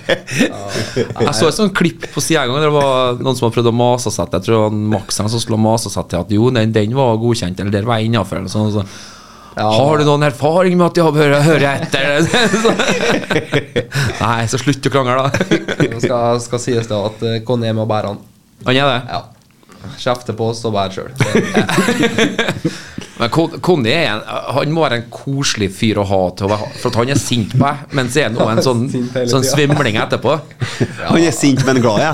Speaker 4: Jeg så et sånt klipp på sida en gang. Det var noen som hadde prøvd å mase seg til Jeg tror han Max eller noen som skulle ha masa seg til at jo, den, den var godkjent, eller der var jeg innafor, eller sånn. og sånn. Har du noen erfaring med at de har hører, hører etter? *laughs* Så. Nei, så *laughs* slutt å krangle, da.
Speaker 6: Det skal, skal sies da at eh, Conny er med og bærer han.
Speaker 4: Han er det.
Speaker 6: Ja. Kjefter på oss og bærer sjøl.
Speaker 4: Men Kon- Conny er en, han må være en koselig fyr å ha til å være For at han er sint på meg, men så er han også en sånn,
Speaker 6: Sint hele
Speaker 4: sånn
Speaker 6: tiden.
Speaker 4: svimling etterpå.
Speaker 5: Han er sint men glad ja.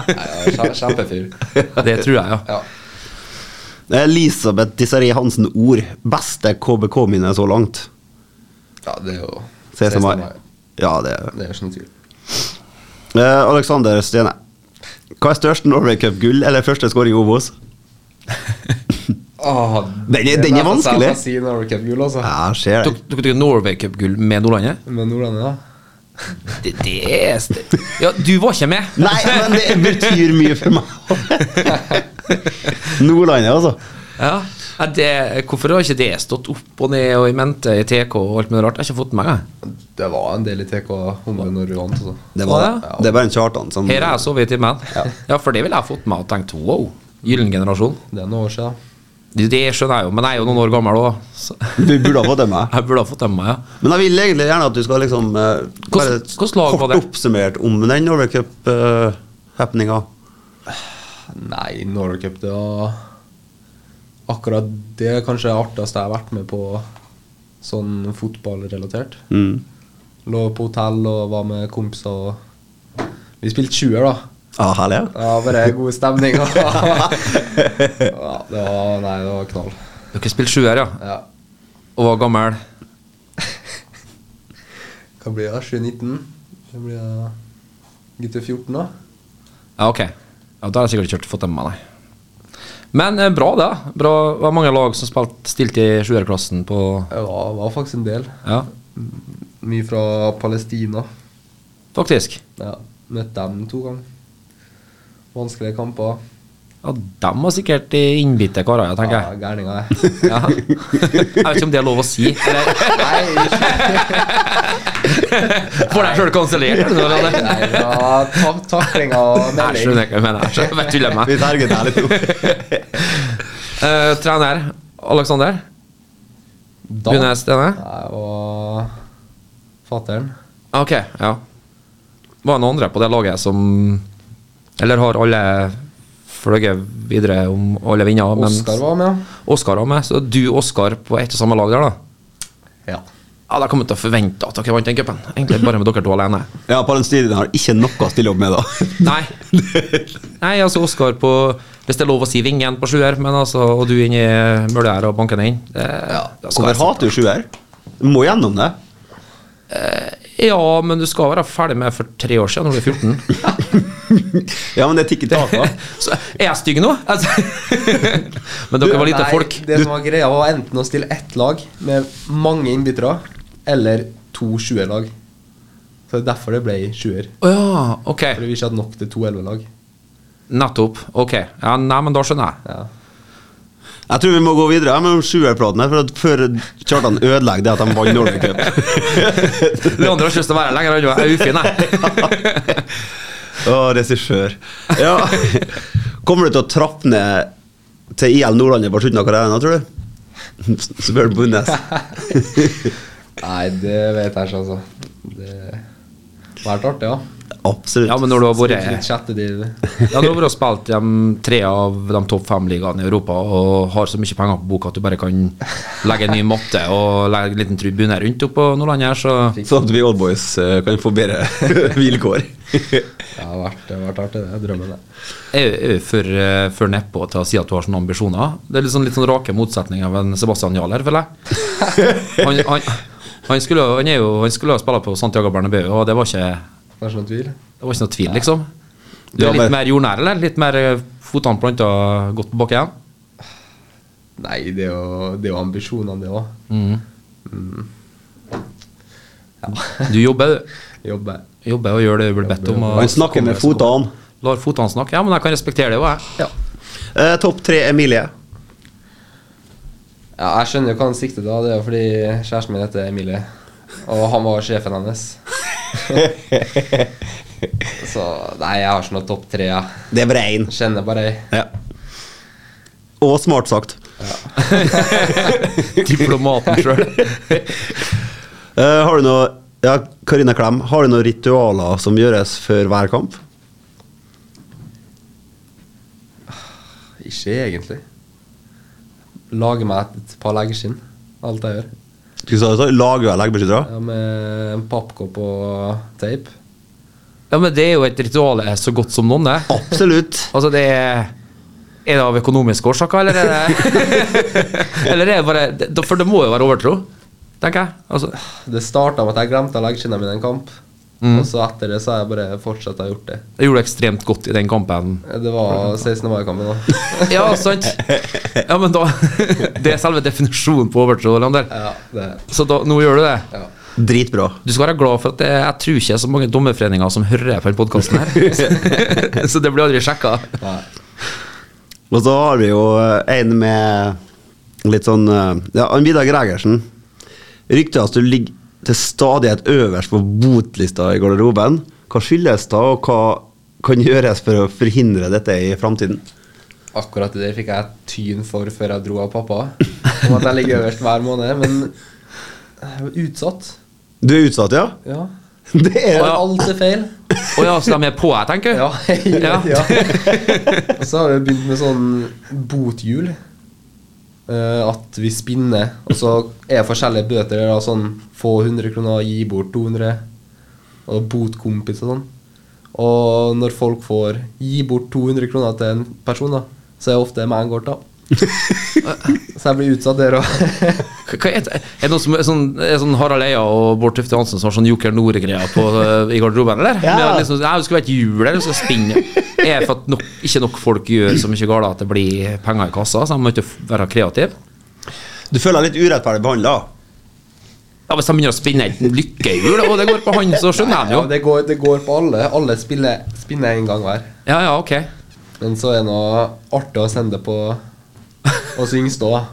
Speaker 6: Kjempefyr.
Speaker 4: Det tror jeg, ja.
Speaker 6: Ja.
Speaker 5: Elisabeth Disseri Hansen ord Beste KBK-minne så langt
Speaker 6: ja, det er jo
Speaker 5: Se som
Speaker 6: 16.
Speaker 5: har Ja, det er det.
Speaker 6: Det er jo ikke noe tvil.
Speaker 5: eh, Alexander Stene Hva er størst Norway Cup gull Eller første skåring i Obos?
Speaker 6: Åh,
Speaker 5: Den er-
Speaker 6: det
Speaker 5: den er
Speaker 6: nesten så Ah, jeg
Speaker 5: vanskelig.
Speaker 6: kan Si Norway Cup gull, altså.
Speaker 5: Ja, skjer det
Speaker 4: Tok tok dere Norway Cup-gull med Nordlandet?
Speaker 6: Men hvordan er det?
Speaker 4: Det, det er st- Ja, du var ikke med.
Speaker 5: Nei, men det betyr mye for *laughs* meg Nordlandet altså
Speaker 4: *laughs* Ja, er det, Hvorfor har ikke det stått opp og ned og i mente i TK og alt mulig rart? Jeg har ikke fått med meg
Speaker 6: Det var en del i TK Humle når vi vant. Altså.
Speaker 5: Det var det
Speaker 4: Ja.
Speaker 5: Det er altså- bare en Kjartan som
Speaker 4: Her er jeg sovet i timen. Ja, for det ville jeg fått med meg og tenkt wow. Gyllen generasjon.
Speaker 6: Det er noen år siden.
Speaker 4: Det, det skjønner jeg jo, men jeg er jo noen år gammel òg. *laughs* Jeg
Speaker 5: Du burde ha fått det med
Speaker 4: burde ha fått det med meg, ja.
Speaker 5: Men jeg vil egentlig gjerne at du skal liksom eh, bare
Speaker 4: hvordan lag var
Speaker 5: kort
Speaker 4: det?
Speaker 5: oppsummert om den Norway eh, Cup-happeninga.
Speaker 6: Nei, Norway Cup, det var Akkurat det er kanskje det artigste jeg har vært med på sånn fotballrelatert.
Speaker 5: mm.
Speaker 6: Lå på hotell og var med kompiser og Vi spilte 20 da.
Speaker 5: Ja, herlig. ja.
Speaker 6: Ja, bare god stemning. *laughs* og- ja, det var Nei, det var knall.
Speaker 4: Dere spilte sjuer, ja.
Speaker 6: Ja.
Speaker 4: Og var gammel.
Speaker 6: Hva blir det? 7-19? Det blir da gutter 14, da?
Speaker 4: Ja, ok. Ja, Da har jeg sikkert ikke hørt- fått det med meg, nei. Men eh, bra, det. da. Bra. Det var mange lag som spilte stilte i sjuerklassen på
Speaker 6: Det var, var faktisk en del.
Speaker 4: Ja,
Speaker 6: Mye fra Palestina.
Speaker 4: faktisk.
Speaker 6: Ja, Møtte dem to ganger. Vanskelige kamper.
Speaker 4: Ja, dem var sikkert de innbitte karer, ja, tenker
Speaker 6: Ja,
Speaker 4: jeg.
Speaker 6: Gærninger, jeg.
Speaker 4: Ja. *laughs* Jeg vet ikke om det er lov å si. Eller,
Speaker 6: Nei, ikke-
Speaker 4: får deg sjøl kansellert? eller noe, eller?
Speaker 6: nei, det var tak takling og
Speaker 4: Jeg
Speaker 6: melding.
Speaker 4: skjønner ikke hva jeg mener. Jeg skjønner- Jeg tuller med.
Speaker 5: Vi terget det litt
Speaker 4: *laughs*
Speaker 5: jo.
Speaker 4: Eh, trener Aleksander
Speaker 6: Da
Speaker 4: Bunes Stene.
Speaker 6: Nei, og fatter'n.
Speaker 4: Ok, ja. Var det noen andre på det laget som Eller har alle fløyet videre om alle vinner? men-
Speaker 6: Oskar var med,
Speaker 4: Oskar var med, så du og Oskar på ett og samme lag der, da.
Speaker 6: ja.
Speaker 4: Ja, da kommer jeg til å forvente at dere vant den cupen. Egentlig bare med dere to alene.
Speaker 5: Ja, Palestina har ikke noe å stille opp
Speaker 4: *laughs*
Speaker 5: med, da.
Speaker 4: Nei. Nei, altså Oskar på Hvis det er lov å si vingen på sjuer, men altså Og du inni mølja her og banker den inn. Det- da skal jeg
Speaker 5: Hvorfor hater du sjuer? Du må gjennom det.
Speaker 4: Ja, men du skal være ferdig med for tre år siden, når du er 14.
Speaker 5: Ja, men det tikker
Speaker 4: *laughs*
Speaker 5: tilbake.
Speaker 4: Så er jeg stygg nå? Altså. *laughs* Men dere var lite
Speaker 6: Nei,
Speaker 4: folk.
Speaker 6: Det som var greia, var enten å stille ett lag med mange innbyttere, eller to sjuerlag. Så det er derfor det ble sjuer.
Speaker 4: Å ja, ok.
Speaker 6: Fordi vi ikke hadde nok til to ellevelag.
Speaker 4: Nettopp. Ok. Ja, nei, men da skjønner jeg.
Speaker 6: Ja.
Speaker 5: Jeg tror vi må gå videre ja, med sjuerplaten her, for at før Kjartan ødelegger det at de vant Norway Cup.
Speaker 4: Leander har ikke lyst til å være her lenger, han er ufin, jeg.
Speaker 5: *laughs* Å, regissør. Ja. Kommer du til å trappe ned til IL Nordlandet på slutten av karrieren, tror du? Spør Bundes.
Speaker 6: Nei, det vet jeg ikke, altså. Det har vært artig, ja.
Speaker 5: Absolutt.
Speaker 4: Ja, men når du har
Speaker 6: Spilte litt
Speaker 4: vært
Speaker 6: sjette div.
Speaker 4: ja, du har vært og spilt i de tre av de topp fem-ligaene i Europa og har så mye penger på boka at du bare kan legge en ny matte og legge en liten tribune rundt oppå Nordlandet her, så
Speaker 5: Sånn at vi Old Boys eh, kan få bedre vilkår.
Speaker 6: Det har vært, det har vært artig, det. er Drømmen, det.
Speaker 4: er jo- er jo for, eh, for nedpå til å si at du har sånne ambisjoner. Det er litt sånn, litt sånn rake motsetning av en Sebastian Jarl her, føler jeg. Han, han, han, skulle, jo- han, er jo, han skulle jo spille på Santiago Bernabeu, og det var ikke
Speaker 6: Det er ikke noen tvil.
Speaker 4: Det var ikke noe tvil, liksom. Du
Speaker 5: Ja,
Speaker 4: er litt
Speaker 5: men-
Speaker 4: mer jordnær, eller? Litt mer eh, fotene planta godt på bakken?
Speaker 6: Nei, det er jo, det er jo ambisjonene, det òg.
Speaker 4: Du jobber, du.
Speaker 6: *laughs* Jobbe.
Speaker 4: jobber og gjør det du blir bedt om. og-
Speaker 5: Han snakker med fotene.
Speaker 4: Lar fotene snakke. Ja, men jeg kan respektere det òg, jeg.
Speaker 6: Ja.
Speaker 5: Eh, Topp tre Emilie.
Speaker 6: Ja, jeg skjønner jo hva han sikter til. da. Det er jo fordi kjæresten min heter Emilie, og han var sjefen hennes. Så nei, jeg har ikke noe topp tre. Jeg
Speaker 5: Det er Brein.
Speaker 6: kjenner bare ei.
Speaker 5: Ja. Og smart sagt.
Speaker 4: Diplomaten sjøl.
Speaker 5: *laughs* Eh, har du noe ja, Karina Klem, har du noen ritualer som gjøres før hver kamp?
Speaker 6: Ikke egentlig. Lager meg et par leggskinn. Alt jeg gjør.
Speaker 5: Skal vi sa- så Lager jeg leggbeskyttere?
Speaker 6: Ja, med en pappkopp og teip.
Speaker 4: Ja, men det er jo et ritual eh, så godt som noen, det.
Speaker 5: Absolutt.
Speaker 4: Altså, det er Er det av økonomiske årsaker, eller er det *laughs* Eller er det bare det- For det må jo være overtro, tenker jeg. Altså,
Speaker 6: Det starta med at jeg glemte leggskinnene mine i en kamp. Og så etter det så har jeg bare fortsatt å ha gjort det.
Speaker 4: jeg gjorde det ekstremt godt i den kampen.
Speaker 6: Det var 16. mai-kampen da.
Speaker 4: Ja, sant? Ja, men da *laughs* Det er selve definisjonen på overtro, Leander.
Speaker 6: Ja, det,
Speaker 4: Så da, nå gjør du det.
Speaker 6: ja.
Speaker 5: Dritbra.
Speaker 4: Du skal være glad for at det, jeg tror ikke det er så mange dommerforeninger som hører på den podkasten
Speaker 6: *laughs*
Speaker 4: her. *laughs* Så- så det blir aldri sjekka.
Speaker 6: Nei.
Speaker 5: Og så har vi jo eh, en med litt sånn eh, Ja, han Vidar Gregersen. Ryktet at du ligger til stadighet øverst på botlista i garderoben. Hva skyldes det, og hva kan gjøres for å forhindre dette i framtiden?
Speaker 6: Akkurat det der fikk jeg tyn for før jeg dro av pappa. Om at jeg ligger øverst hver måned. Men jeg er jo utsatt.
Speaker 5: Du er utsatt, ja? *laughs*
Speaker 6: Ja.
Speaker 5: Det er
Speaker 6: Og alt er feil.
Speaker 4: Å ja, så de er på, jeg tenker?
Speaker 6: Ja. ja.
Speaker 4: *laughs* Ja.
Speaker 6: Og så har vi begynt med sånn bothjul. Eh, at vi spinner, og så er forskjellige bøter. Da, sånn få 100 kroner, gi bort 200. Og botkompis og sånn. Og når folk får gi bort 200 kroner til en person, da, så er det ofte meg en går til. Så jeg blir utsatt der òg.
Speaker 4: Hva- Hva er, det? er det noe som er sånn, er sånn Harald Eia og Bård Tufte Hansen som har sånn Joker Nore-greier på, eh, i garderoben, eller?
Speaker 5: Ja.
Speaker 4: Med Liksom, nei, det skulle vært jul, eller det skal spinne. Er det for at nok, ikke nok folk gjør så mye galt at det blir penger i kassa, så de må ikke f- være kreative?
Speaker 5: Du føler deg litt urettferdig behandla?
Speaker 4: Ja, Hvis de begynner å spinne et lykkehjul, og det går på han, så skjønner jeg det
Speaker 6: Ja,
Speaker 4: jo.
Speaker 6: det går, det går på alle. Alle spiller, spinner en gang hver.
Speaker 4: Ja, ja, ok.
Speaker 6: *laughs* Men så er det noe artig å sende det på oss yngste òg.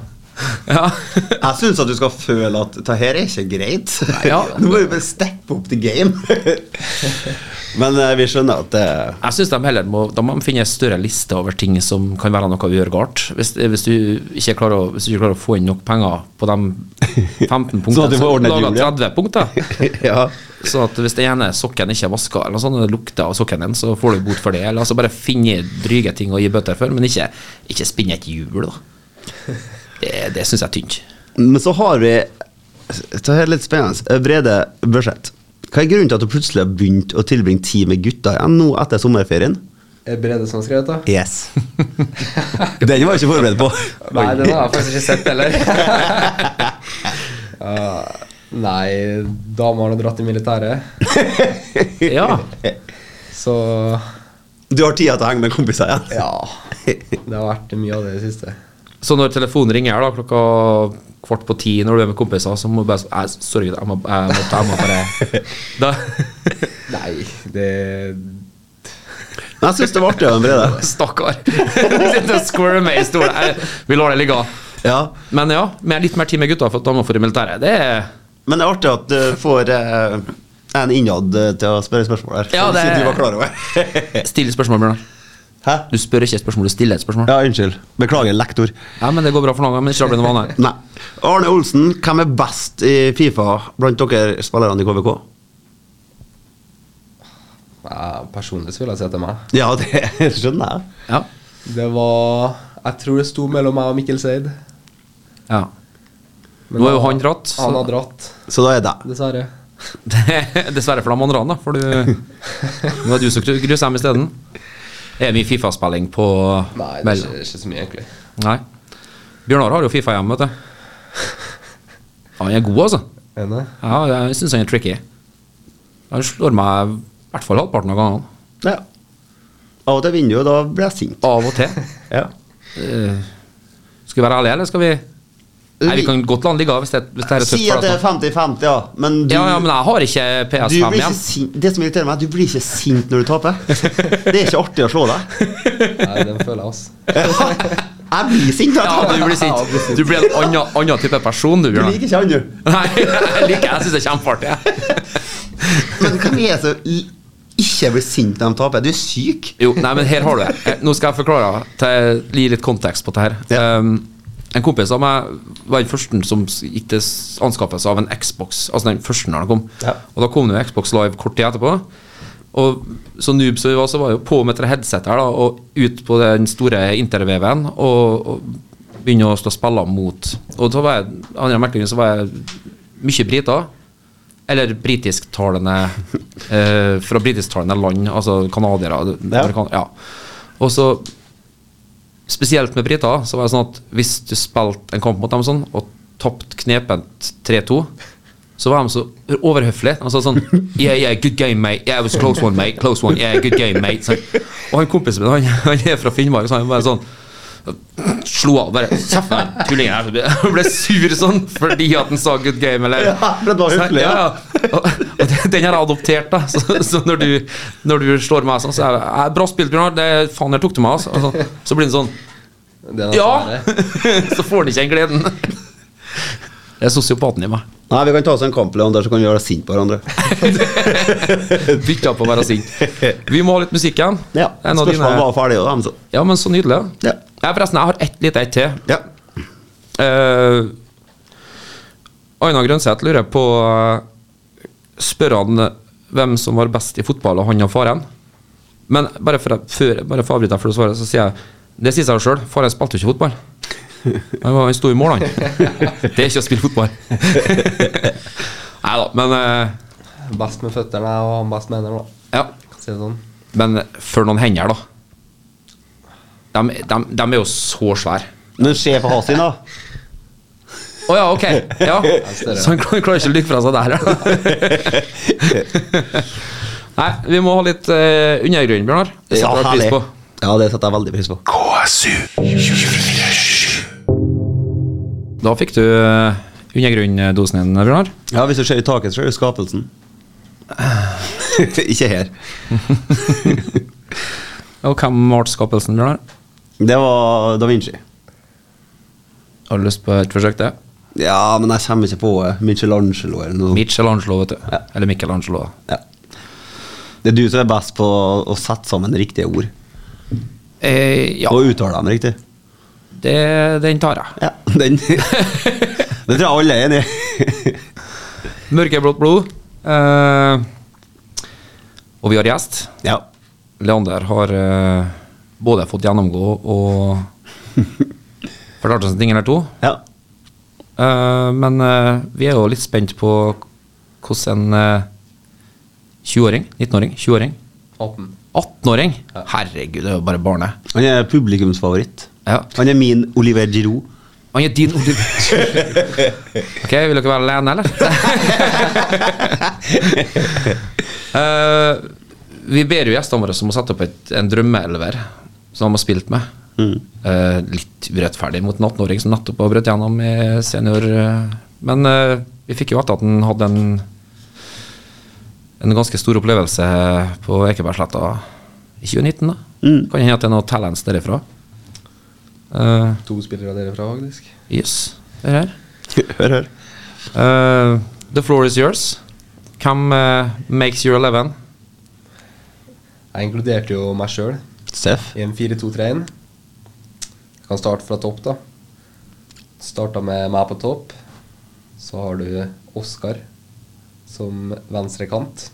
Speaker 4: Ja. *laughs*
Speaker 5: Jeg syns at du skal føle at det her er ikke greit. *laughs*
Speaker 4: ja.
Speaker 5: Nå må vi bare steppe opp the game. *laughs* Men eh, vi skjønner at det
Speaker 4: Jeg syns de heller må, da må de finne en større liste over ting som kan være noe vi gjør galt. Hvis, hvis, du ikke klarer å, hvis du ikke klarer å få inn nok penger på de
Speaker 5: *laughs*
Speaker 4: 15
Speaker 5: Sånn at
Speaker 4: punktene,
Speaker 5: du får ordnet
Speaker 4: lager
Speaker 5: jul, ja.
Speaker 4: 30 punkter.
Speaker 5: *laughs* Ja.
Speaker 4: Sånn at hvis den ene sokken ikke er vaska, eller noe sånt, og det lukter av sokken din, så får du bot for det. Eller altså bare finne dryge ting å gi bøter for, men ikke, ikke spinne et hjul, da. Det, det syns jeg er
Speaker 5: *laughs*
Speaker 4: tynt.
Speaker 5: Men så har vi Det her er litt spennende. Eh, Brede Børseth. Hva er grunnen til at du plutselig har begynt å tilbringe tid med gutta igjen nå etter sommerferien?
Speaker 6: Er det Brede som har skrevet det?
Speaker 5: Yes. *laughs* Den var jeg ikke forberedt på.
Speaker 6: Nei, den har jeg faktisk ikke sett heller. *laughs* Ah, nei, dama har nå dratt i militæret,
Speaker 4: Ja.
Speaker 6: så
Speaker 5: Du har tida til å henge med kompiser igjen. *laughs*
Speaker 6: ja. Det har vært mye av det i det siste.
Speaker 4: Så når telefonen ringer her da, klokka kvart på ti når du er med kompiser, så må du bare sånn Sorry, jeg må, jeg må, jeg må bare *laughs* da,
Speaker 6: Nei, det
Speaker 5: Men jeg syns det var artig å ha en Brede.
Speaker 4: Stakkar. *laughs* Sitter og squirmer i stolen. Nei, Vi lar det ligge.
Speaker 5: Ja.
Speaker 4: Men ja, med litt mer tid med gutta for at damer får i militæret, det er
Speaker 5: Men det er artig at du får eh, en innad eh, til å spørre spørsmål her.
Speaker 4: Ja, det-
Speaker 5: Som du var klar over. *laughs*
Speaker 4: Still spørsmål, Bjørnar.
Speaker 5: Hæ?
Speaker 4: Du spør ikke et spørsmål, du stiller et spørsmål.
Speaker 5: Ja, unnskyld. Beklager, lektor.
Speaker 4: Ja, men det går bra for noen ganger, men ikke la det bli noe vanlig.
Speaker 5: Nei. Arne Olsen, hvem er best i Fifa blant dere spillerne i KVK?
Speaker 6: ja, Personlig så vil jeg si til meg.
Speaker 5: Ja, *laughs* det skjønner jeg.
Speaker 4: Ja.
Speaker 6: Det var Jeg tror det sto mellom meg og Mikkel Seid.
Speaker 4: ja.
Speaker 6: Men
Speaker 4: Nå er jo
Speaker 6: da-
Speaker 4: han dratt, så- *laughs*
Speaker 6: Han har dratt,
Speaker 5: Så da er det
Speaker 6: dessverre.
Speaker 4: Dessverre for de andre, da,
Speaker 6: *laughs*
Speaker 4: for du Nå er du som gruser dem isteden. Er det mye Fifa-spilling på
Speaker 6: Nei, det er
Speaker 4: Vel-
Speaker 6: ikke, ikke så mye, egentlig.
Speaker 4: Nei. Bjørnar har jo Fifa hjemme, vet
Speaker 5: *laughs*
Speaker 4: du. Ja, Han er god, altså.
Speaker 6: Enig?
Speaker 4: Ja, jeg syns han er tricky. Han slår meg i hvert fall halvparten av gangene.
Speaker 5: Ja. Av og til vinner du, og da blir jeg sint.
Speaker 4: Av
Speaker 5: *laughs*
Speaker 4: og til.
Speaker 5: Ja.
Speaker 4: Eh, skal vi være ærlige, eller skal vi Nei, vi kan godt la han ligge av hvis det, hvis det her er tøft
Speaker 5: Si at
Speaker 4: for
Speaker 5: det
Speaker 4: deg.
Speaker 5: er 50-50, ja. Men du,
Speaker 4: Ja, ja, men jeg har ikke
Speaker 5: du
Speaker 4: PS5
Speaker 5: blir ikke
Speaker 4: igjen.
Speaker 5: sint. Det som irriterer meg, er at du blir ikke sint når du taper. Det er ikke artig å slå
Speaker 4: *laughs*
Speaker 5: deg.
Speaker 6: Nei, den føler jeg, altså.
Speaker 5: Jeg blir sint når jeg
Speaker 4: Ja,
Speaker 5: taper.
Speaker 4: du blir sint. Du blir en annen, annen type person, du,
Speaker 5: Du
Speaker 4: Bjørnar.
Speaker 5: liker ikke han, du.
Speaker 4: Nei, *laughs* jeg liker Jeg syns det er kjempeartig. jeg.
Speaker 5: Men hvem er det som i- ikke blir sint når de taper? Du er syk.
Speaker 4: Jo, nei, men her har du det. Eh, Nå skal jeg forklare, til, gi litt kontekst på det her.
Speaker 5: Ja.
Speaker 4: Um, en kompis av meg var den første som s- gikk til s- anskaffelse av en Xbox. Altså den første når den kom.
Speaker 5: Ja.
Speaker 4: Og da kom det jo Xbox Live kort tid etterpå. Og så noob som vi var, så var jeg jo på med dette headsetet her da, og ut på den store interveven og, og begynne å stå og spille mot. Og da var jeg, av en eller annen merkelig grunn så var jeg mye briter. Eller
Speaker 5: *laughs*
Speaker 4: britisktalende eh, fra britisktalende land, altså canadiere.
Speaker 5: Ja.
Speaker 4: amerikan- Ja. Og så spesielt med briter, så var det sånn at hvis du spilte en kamp mot dem sånn, og tapte knepent 3-2, så var de så overhøflige. Han sa sånn Yeah, yeah, good game, mate. Yeah, it was a close one, mate. Close one. Yeah, good game, mate. Sånn. Og han kompisen min, han, han er fra Finnmark, så han bare sånn Slo av, bare Kjeft med den tullingen her. så ble- Han ble sur sånn fordi at han sa good game, eller
Speaker 5: Ja, for det var
Speaker 4: Så-
Speaker 5: høflig,
Speaker 4: Ja,
Speaker 5: ja.
Speaker 4: ja. Og, og den- den har jeg adoptert, da. Så, så når, du, når du slår meg sånn, så er det «Ja, Bra spilt, Bjørnar. Det faen, her tok du meg, altså. Og så- så blir den sånn
Speaker 6: Det er sånn-
Speaker 4: ja!
Speaker 6: dessverre.
Speaker 4: *laughs* så får han ikke den gleden. Det er sosiopaten i meg.
Speaker 5: Nei, vi kan ta oss en kamp, Leander, så kan vi være sinte på hverandre.
Speaker 4: Bytta på å være sint. Vi må ha litt musikk igjen.
Speaker 5: Ja,
Speaker 4: En av dine-
Speaker 5: Spørsmålet var ferdig, og de så
Speaker 4: ja men så nydelig.
Speaker 5: Ja.
Speaker 4: Jeg, forresten, jeg har ett lite ett til.
Speaker 5: Ja.
Speaker 4: Eh, Aina Grønseth lurer på eh, Spør han hvem som var best i fotball, og han og faren? Men bare for, før, bare for å avbryte deg før du svarer, så sier jeg det sier seg jo sjøl. Faren spilte jo ikke fotball. Han, var, han sto i mål, han. Det er ikke å spille fotball. Nei da, men eh,
Speaker 6: Best med føttene og han best med hendene, da.
Speaker 4: Ja.
Speaker 6: Kan si det sånn.
Speaker 4: Men for noen hender, da. De, de, de er jo så svære.
Speaker 5: Men se på Hasin, da.
Speaker 4: Å ja, ok. *laughs* Ja.
Speaker 6: større.
Speaker 4: Så han klarer klarer ikke å lykke fra seg der, ja. *laughs* Nei, vi må ha litt eh, undergrunn, Bjørnar. Det setter jeg pris på.
Speaker 5: Ja, det setter jeg veldig pris på.
Speaker 3: KSU 247.
Speaker 4: Da fikk du eh, undergrunndosen din, Bjørnar.
Speaker 5: Ja, Hvis du ser i taket, så er det skapelsen. *laughs* Ikke her.
Speaker 4: Og hvem ble skapelsen, Bjørnar?
Speaker 5: Det var Da Vinci.
Speaker 4: Har du lyst på et forsøk til?
Speaker 5: Ja, men jeg kommer ikke på eh, Michelangelo eller noe.
Speaker 4: Michelangelo, vet du. Eller Michelangelo.
Speaker 5: Ja. Det er du som er best på å å sette sammen riktige ord.
Speaker 4: Eh, ja,
Speaker 5: Og uttale dem riktig.
Speaker 4: det, den tar jeg.
Speaker 5: Ja, den *laughs* Det tror jeg alle er enig i.
Speaker 4: Mørkeblått blod. Eh, og vi har gjest.
Speaker 5: *laughs* ja.
Speaker 4: Leander har eh, både fått gjennomgå og fortalt oss en ting eller to.
Speaker 5: ja.
Speaker 4: Eh, men eh, vi er jo litt spent på hvordan en eh, 20-åring, 19-åring, 20-åring,
Speaker 6: 18.
Speaker 4: 18-åring Herregud, det er jo bare barnet.
Speaker 5: Han er publikumsfavoritt.
Speaker 4: Ja.
Speaker 5: Han er min Oliver Giroud. *laughs*
Speaker 4: Han er din du... Ok, vil dere være alene, eller? Eh, vi ber jo gjestene våre om å sette opp et, en drømmeelver som de har spilt med. Eh, litt urettferdig mot en 18-åring som nettopp har brutt gjennom i senior. eh, men eh, vi fikk jo vite at han hadde en, en ganske stor opplevelse på Ekebergsletta i 2019. da. Kan hende at det er noe talents derifra. Eh,
Speaker 6: To spillere derifra, faktisk.
Speaker 4: Yes, det er her.
Speaker 5: Hør, hør.
Speaker 4: Eh, the floor is yours. Hvem eh, makes your 11?
Speaker 6: Jeg inkluderte jo meg sjøl
Speaker 5: Steff.
Speaker 6: i en 4-2-3-1. Jeg kan starte fra topp, da. Starta med meg på topp. Så har du Oskar som venstrekant.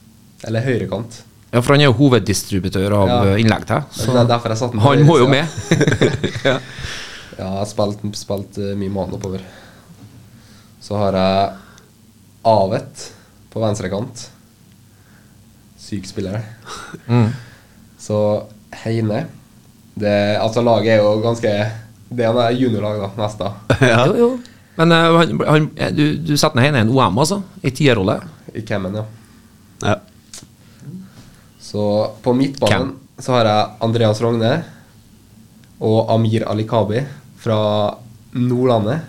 Speaker 6: Eller høyrekant.
Speaker 4: Ja, for han er jo hoveddistributør av
Speaker 6: Ja.
Speaker 4: eh, innlegg til. Så
Speaker 6: Det er derfor jeg satte den på
Speaker 4: han må jo
Speaker 6: høyresida.
Speaker 4: *laughs* med. ja.
Speaker 6: Ja, jeg har spilt, spilt eh, mye mann oppover. Så har jeg Avet på venstrekant. Syk spiller.
Speaker 5: Mm.
Speaker 6: Så Heine det, Altså, laget er jo ganske Det er noe juniorlag, da, nesten.
Speaker 4: *laughs* Jo, jo. Men eh, han, han, eh, du, du setter ned henne i en OM, altså? I tierrolle?
Speaker 6: I Cammen, ja.
Speaker 5: Ja. *laughs*
Speaker 6: Så på midtbanen
Speaker 4: Hvem?
Speaker 6: så har jeg Andreas Rogne og Amir Alikabi fra Nordlandet.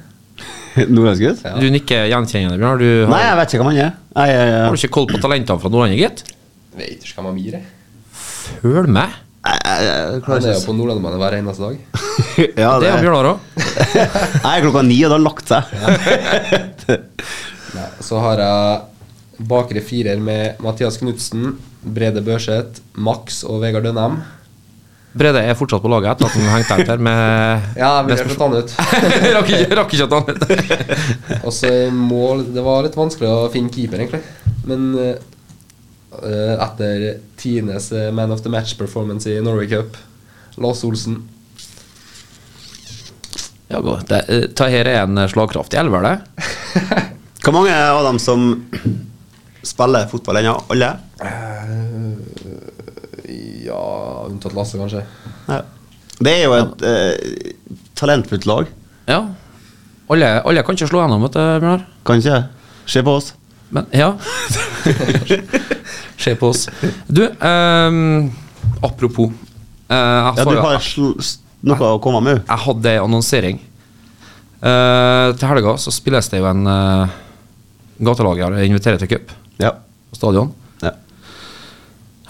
Speaker 5: Nordlandsgutt?
Speaker 6: Ja.
Speaker 4: Du nikker gjenkjennende, Bjørn. Du har,
Speaker 5: Nei, jeg vet ikke hvem han er. Jeg, jeg,
Speaker 4: har du
Speaker 5: jeg,
Speaker 4: ikke koll på talentene fra Nordlandet, gitt?
Speaker 6: Vet ikke hvem Amir er.
Speaker 4: Følg med!
Speaker 5: jeg, jeg
Speaker 6: Han
Speaker 5: klarer
Speaker 6: er jo
Speaker 5: ikke
Speaker 6: på Nordlandsbanen hver eneste dag.
Speaker 5: å- ja,
Speaker 4: Det
Speaker 5: det
Speaker 4: er Bjørnar òg.
Speaker 5: Jeg er klokka ni, og det har lagt seg.
Speaker 6: Nei, så har jeg bakre firer med Mathias Knutsen, Brede Børseth, Max og Vegard Dønheim.
Speaker 4: Brede er fortsatt på laget etter at han hengte ut her med
Speaker 6: Ja, jeg
Speaker 4: med
Speaker 6: vurderte å ta han ut.
Speaker 4: spørsmål. *laughs* rakk, ikke- rakk ikke at han *laughs*
Speaker 6: Og så i mål Det var litt vanskelig å finne keeper, egentlig. Men eh, eh, etter Tines eh, Man of the Match-performance i Norway Cup, Lars Olsen
Speaker 4: Ja, gå. Det, eh, Taher er en slagkraftig elver, det.
Speaker 5: Hvor mange av dem som spiller fotball ennå? Alle?
Speaker 6: Ja, unntatt Lasse, kanskje.
Speaker 5: Ja. Det er jo et eh, talentfullt lag.
Speaker 4: Ja. Alle, alle kan ikke slå gjennom, vet du, Bjørnar.
Speaker 5: Kan ikke se på oss.
Speaker 4: Men ja. Se på oss. Du, ehm, apropos. eh, jeg,
Speaker 5: Ja,
Speaker 4: sa
Speaker 5: du
Speaker 4: jo-
Speaker 5: har sl s- noe å komme med.
Speaker 4: jeg hadde ei annonsering. Eh, til helga så spilles det jo en uh, gatelag her. Jeg inviterer til cup på
Speaker 5: Ja.
Speaker 4: stadion.
Speaker 5: ja.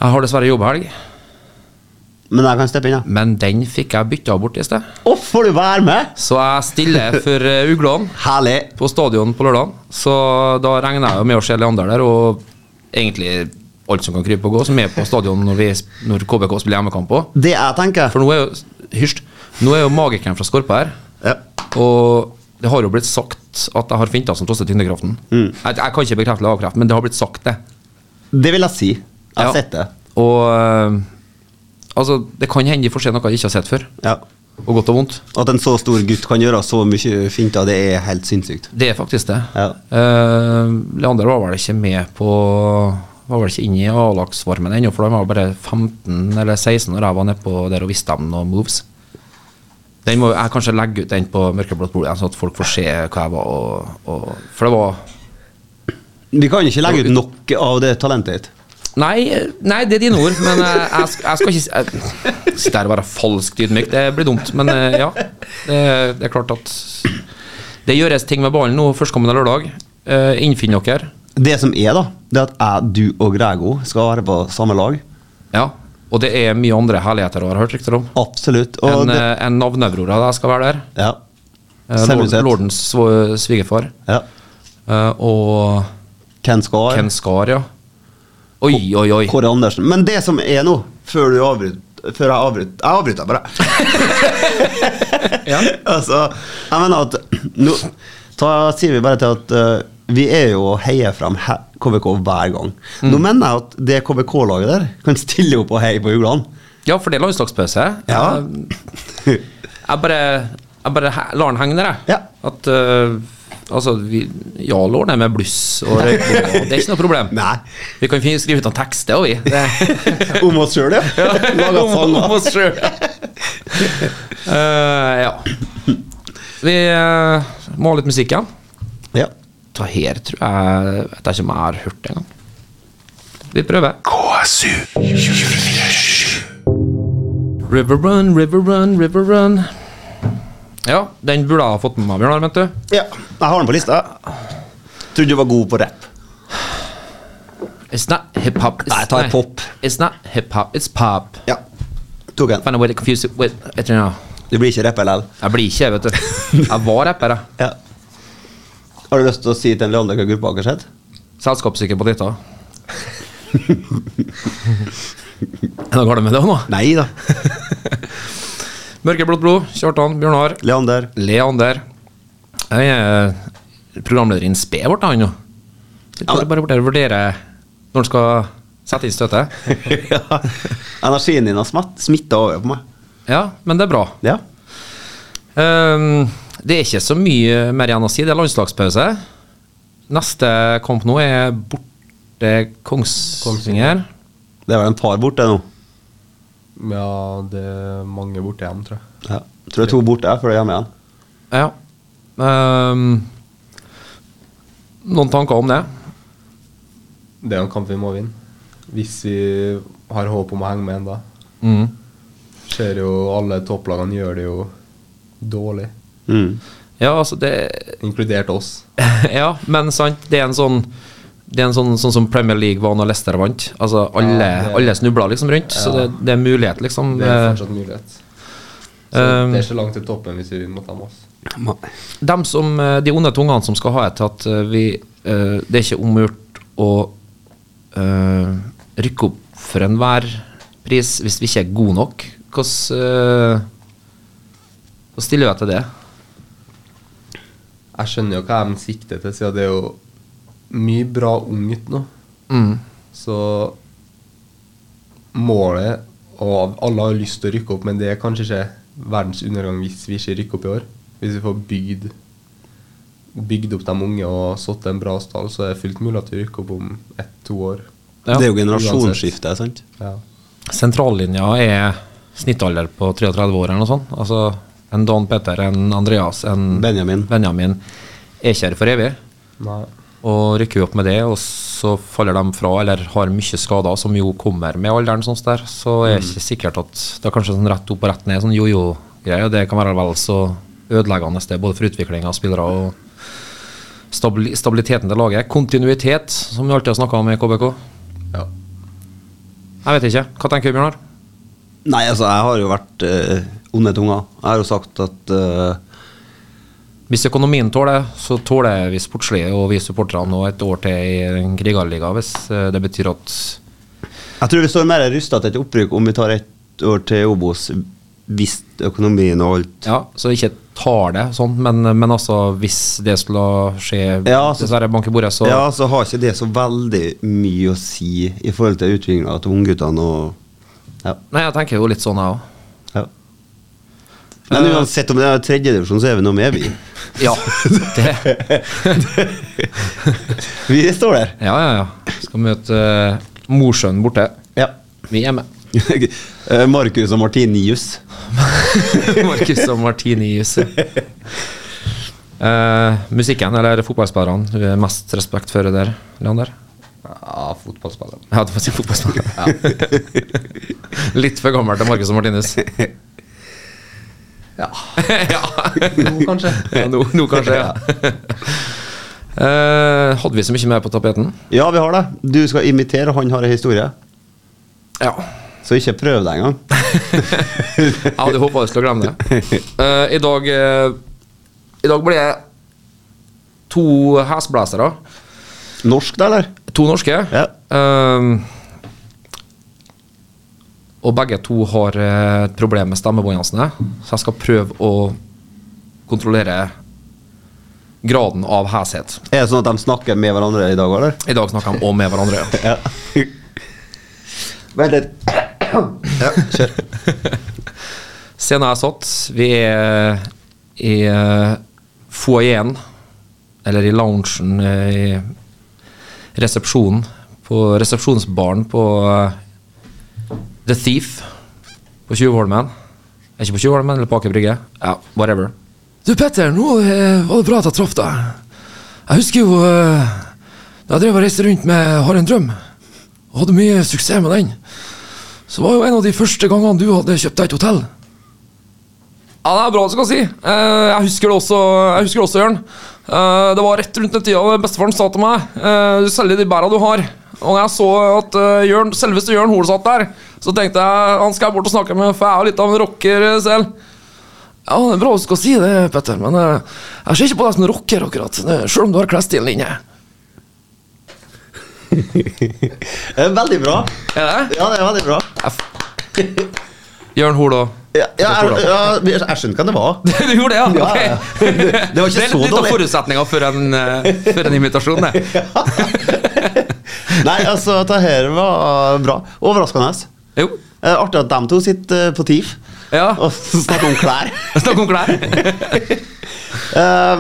Speaker 4: Jeg har dessverre jobbhelg,
Speaker 5: Men jeg kan steppe inn, jeg.
Speaker 4: men den fikk jeg bytta bort i sted.
Speaker 5: Å, får du være med?
Speaker 4: Så jeg stiller for eh, uglene.
Speaker 5: Herlig.
Speaker 4: på stadion på lørdag. Så da regner jeg jo med å se Leander der, og egentlig alt som kan krype og gå, som er på stadion når, vi, når KBK spiller hjemmekamp òg.
Speaker 5: Det jeg tenker
Speaker 4: For nå er jo Hysj. Nå er jo magikeren fra Skorpa her,
Speaker 5: ja.
Speaker 4: og det har jo blitt sagt at jeg har finta som trosser tyngdekraften.
Speaker 5: Mm.
Speaker 4: Jeg, jeg kan ikke bekrefte eller avkrefte, men det har blitt sagt, det.
Speaker 5: Det vil jeg si. Jeg har
Speaker 4: Ja.
Speaker 5: sett det.
Speaker 4: Og eh, altså, det kan hende de får se noe jeg ikke har sett før.
Speaker 5: Ja.
Speaker 4: Og godt og vondt.
Speaker 5: At en så stor gutt kan gjøre så mye finter, det er helt sinnssykt.
Speaker 4: Det er faktisk det.
Speaker 5: Ja.
Speaker 4: Eh, Leander var vel ikke med på Var vel ikke inne i A-lagsformen ennå, for han var bare 15 eller 16 når jeg var nedpå der og viste dem noen moves. Den må jeg kanskje legge ut den på mørkeblått blod, igjen, sånn at folk får se hva jeg var og, og For det var
Speaker 5: Vi kan ikke legge ut nok av det talentet ditt.
Speaker 4: Nei, nei det er dine ord, men eh, jeg, sk- jeg skal ikke si- jeg, Sitte her og være falskt ydmyk, det blir dumt. Men eh, ja, det, det er klart at det gjøres ting med ballen nå førstkommende lørdag. Uh, Innfinn dere.
Speaker 5: Det som er, da, det er at jeg, du og Grego skal være på samme lag.
Speaker 4: Ja, og det er mye andre herligheter å har hørt rykter om.
Speaker 5: Absolutt. Og
Speaker 4: En,
Speaker 5: det,
Speaker 4: eh, en navnebror av deg skal være der.
Speaker 5: ja.
Speaker 4: eh, lord,
Speaker 5: Selvsagt.
Speaker 4: lordens svo- svigerfar.
Speaker 5: Ja.
Speaker 4: Eh, og
Speaker 5: Ken Skar.
Speaker 4: Ken Skar, ja. Oi, oi, oi.
Speaker 5: Kåre Andersen. Men det som er nå, før du avbryter Før jeg avbryter Jeg avbryter bare. *laughs*
Speaker 4: Ja.
Speaker 5: altså, jeg mener at nå ta, sier vi bare til at eh, vi er jo og heier fram he KBK hver gang.
Speaker 4: Mm.
Speaker 5: Nå mener jeg at det KBK-laget der kan stille opp og heie på julene.
Speaker 4: ja, for det er landslagspause.
Speaker 5: *laughs* Ja.
Speaker 4: Jeg, jeg bare, jeg bare he- lar den henge der, jeg.
Speaker 5: Ja.
Speaker 4: At eh, Altså, vi, Jarl ordner med bluss og røykbomber, og det er ikke noe problem.
Speaker 5: *laughs* Nei.
Speaker 4: Vi kan fin- skrive ut noen tekster, og vi.
Speaker 5: *laughs*
Speaker 4: Det,
Speaker 5: Om oss sjøl,
Speaker 4: *laughs*
Speaker 5: ja. Laga sanger.
Speaker 4: oss *laughs* sjøl. ja. Vi eh, må ha litt musikk igjen.
Speaker 5: Ja.
Speaker 4: Ta her tror jeg Vet jeg ikke om jeg har hørt det engang. Vi prøver.
Speaker 3: KSU 247.
Speaker 4: River Run, River Run, River Run. Ja, den burde jeg ha fått med meg, Bjørnar, mente du?
Speaker 5: ja. Jeg har den på lista. Trodde du var god på rapp.
Speaker 4: It's not hip-hop. it's-
Speaker 5: Nei, ta et pop.
Speaker 4: It's not hip-hop, it's pop.
Speaker 5: Ja. Tok den.
Speaker 4: Find a way to confuse it with et eller annet.
Speaker 5: Du blir ikke rapper likevel.
Speaker 4: Jeg blir ikke, *laughs* vet du. Jeg var rapper, jeg.
Speaker 5: Ja. Har du lyst til å si til en Leander hva gruppa har sett?
Speaker 4: Selskapssyke på *laughs* dette. Er det noe galt med det nå?
Speaker 5: Nei da.
Speaker 4: Mørkeblått blod, Kjartan, Bjørnar,
Speaker 5: Leander.
Speaker 4: Leander. Jeg er eh, programleder i en spe vårt, han nå. Jeg tror
Speaker 5: Ja, men-
Speaker 4: jeg bare vurderer, vurderer når han skal sette inn støtet.
Speaker 5: *laughs* ja. Energien din har smatt, smitta over på meg.
Speaker 4: Ja, men det er bra.
Speaker 5: Ja.
Speaker 4: Ehm, det er ikke så mye mer igjen å si. Det er landslagspause. Neste kamp nå er borte Kongsvinger.
Speaker 5: Det er vel en par borte nå.
Speaker 6: Ja, det er mange borte igjen, tror jeg.
Speaker 5: Ja. Tror det er to borte før det er hjemme igjen.
Speaker 4: Ja. Ehm, noen tanker om det?
Speaker 6: Det er jo en kamp vi må vinne. Hvis vi har håp om å henge med ennå.
Speaker 4: Mm.
Speaker 6: Ser jo alle topplagene gjør det jo dårlig.
Speaker 5: Mm.
Speaker 4: Ja, altså det *laughs*
Speaker 6: Inkludert oss.
Speaker 4: ja, men sant, det er en sånn det er en sånn, sånn som Premier League var når Leicester vant. Altså, alle,
Speaker 6: det-
Speaker 4: alle snubler liksom rundt, så det, det er mulighet, liksom.
Speaker 6: Det Ehm. er fortsatt mulighet. Så
Speaker 4: Eh,
Speaker 6: det er så langt til toppen hvis vi vinner mot dem også.
Speaker 4: Dem som, eh, de onde tungene som skal ha et til at eh, vi eh, Det er ikke omgjort å eh, rykke opp for enhver pris hvis vi ikke er gode nok. Hvordan uh, stiller vi til det?
Speaker 6: Jeg skjønner jo hva de sikter til, siden det er jo mye bra ungt nå. Mm. Så målet Og alle har lyst til å rykke opp, men det er kanskje ikke verdens undergang hvis vi ikke rykker opp i år. Hvis vi får bygd Bygd opp de unge og satt en bra stall, så er det fullt mulig at vi rykker opp om ett-to år.
Speaker 4: Ja.
Speaker 5: Det er jo generasjonsskifte, sant?
Speaker 6: Ja.
Speaker 4: Sentrallinja er snittalder på 33 år eller noe sånt. Altså en Dan Petter, en Andreas, en
Speaker 5: Benjamin.
Speaker 4: Benjamin er ikke her for evig.
Speaker 6: Nei.
Speaker 4: Og rykker jo opp med det, og så faller de fra eller har mye skader, som jo kommer med alderen. sånn der, Så er det ikke sikkert at det er kanskje sånn rett opp og rett ned, sånn jojo-greie. og Det kan være vel så ødeleggende det, både for utviklinga av spillere og stabili stabiliteten til laget. Kontinuitet, som vi alltid har snakka om i KBK.
Speaker 6: Ja.
Speaker 4: Jeg vet ikke. Hva tenker du, Bjørnar?
Speaker 5: Nei, altså, jeg har jo vært eh, onde tunga. Jeg har jo sagt at eh,
Speaker 4: Hvis økonomien tåler, så tåler vi sportslige og vi supporterne nå et år til i en krigerliga, hvis eh, det betyr at
Speaker 5: Jeg tror vi står mer rusta til et opprykk om vi tar ett år til Obos hvis økonomien og alt
Speaker 4: Ja, så ikke tar det sånn, men, men altså hvis det skulle skje
Speaker 5: Ja, så-
Speaker 4: Dessverre, bank i bordet, så
Speaker 5: Ja, så har ikke det så veldig mye å si i forhold til utviklinga til ungguttene og ja.
Speaker 4: Nei, jeg tenker jo litt sånn, jeg òg.
Speaker 5: ja. Men uansett om det er tredjedivisjon, så er vi nå med, *laughs* vi.
Speaker 4: Ja, det,
Speaker 5: Vi står der.
Speaker 4: ja, ja, ja. Skal møte eh, Mosjøen borte.
Speaker 5: Ja.
Speaker 4: Vi *laughs* er med.
Speaker 5: *laughs* Eh, Markus og Martinius.
Speaker 4: Markus og Martinius. Uh, musikken, eller fotballspillerne, du har mest respekt for der, Leander?
Speaker 6: ja fotballspilleren.
Speaker 4: Ja, det var sin fotballspiller. *laughs* Litt for gammel til Marcus og Martinus.
Speaker 6: Ja.
Speaker 4: *laughs* ja.
Speaker 6: Jo, kanskje.
Speaker 4: ja nå, nå kanskje, ja. *laughs* Eh, hadde vi så mye mer på tapeten?
Speaker 5: Ja, vi har det. Du skal imitere, han har en historie.
Speaker 4: Ja.
Speaker 5: Så ikke prøv deg engang. *laughs*
Speaker 4: Jeg hadde håpa du skulle glemme det. Eh, I dag eh, I dag blir det to hesblazere.
Speaker 5: Norsk, da, eller?
Speaker 4: To norske.
Speaker 5: Ja.
Speaker 4: Ehm, og begge to har eh, et problem med stemmebåndene sine, så jeg skal prøve å kontrollere graden av heshet.
Speaker 5: Er det sånn at de snakker med hverandre i dag, eller?
Speaker 4: I dag snakker de òg med hverandre.
Speaker 5: Ja. Vent *laughs* litt. Ja, kjør.
Speaker 4: Scenen er satt. Vi er i eh, foajeen, eller i loungen eh, i resepsjonen, på resepsjonsbaren på eh, The Thief på Tjuvholmen. Er Ikke på Tjuvholmen, eller på Aker Brygge. Ja, whatever. Du Petter, nå eh, var det bra at jeg traff deg. Jeg husker jo eh, da jeg drev og reiste rundt med Har en drøm, og hadde mye suksess med den. Så var jo en av de første gangene du hadde kjøpt deg et hotell. Ja, det er bra du skal si. Eh, Jeg husker det også, jeg husker det også Jørn. Eh, Det var rett rundt den tida det bestefaren sa til meg eh, Du selger de bæra du har. Og når jeg så at eh, Jørn, selveste Jørn Hoel satt der, så tenkte jeg han skal jeg bort og snakke med, for jeg er jo litt av en rocker eh, selv. Ja, det er bra du skal si det, Petter, men eh, jeg ser ikke på deg som en rocker, akkurat. eh, Selv om du har klesstilen inne.
Speaker 5: Det er Eh, veldig bra.
Speaker 4: Er det?
Speaker 5: Ja, det er veldig bra.
Speaker 4: Jeg f- Jørn Hoel og
Speaker 5: Ja, ja, jeg, ja, jeg skjønner hva det *laughs* var.
Speaker 4: *laughs* Du gjorde det, ja?
Speaker 5: Ja,
Speaker 4: Ok.
Speaker 5: ja. Det- det var ikke
Speaker 4: det er
Speaker 5: så
Speaker 4: litt av
Speaker 5: dårlig.
Speaker 4: forutsetninga for, en, eh, for en invitasjon, det.
Speaker 5: *laughs* Nei, altså, dette her var eh, bra. Overraskende.
Speaker 4: Jo.
Speaker 5: Eh, Artig at de to sitter eh, på TIF
Speaker 4: Ja.
Speaker 5: og snakker om klær.
Speaker 4: *laughs* Snakk om klær.
Speaker 5: Eh,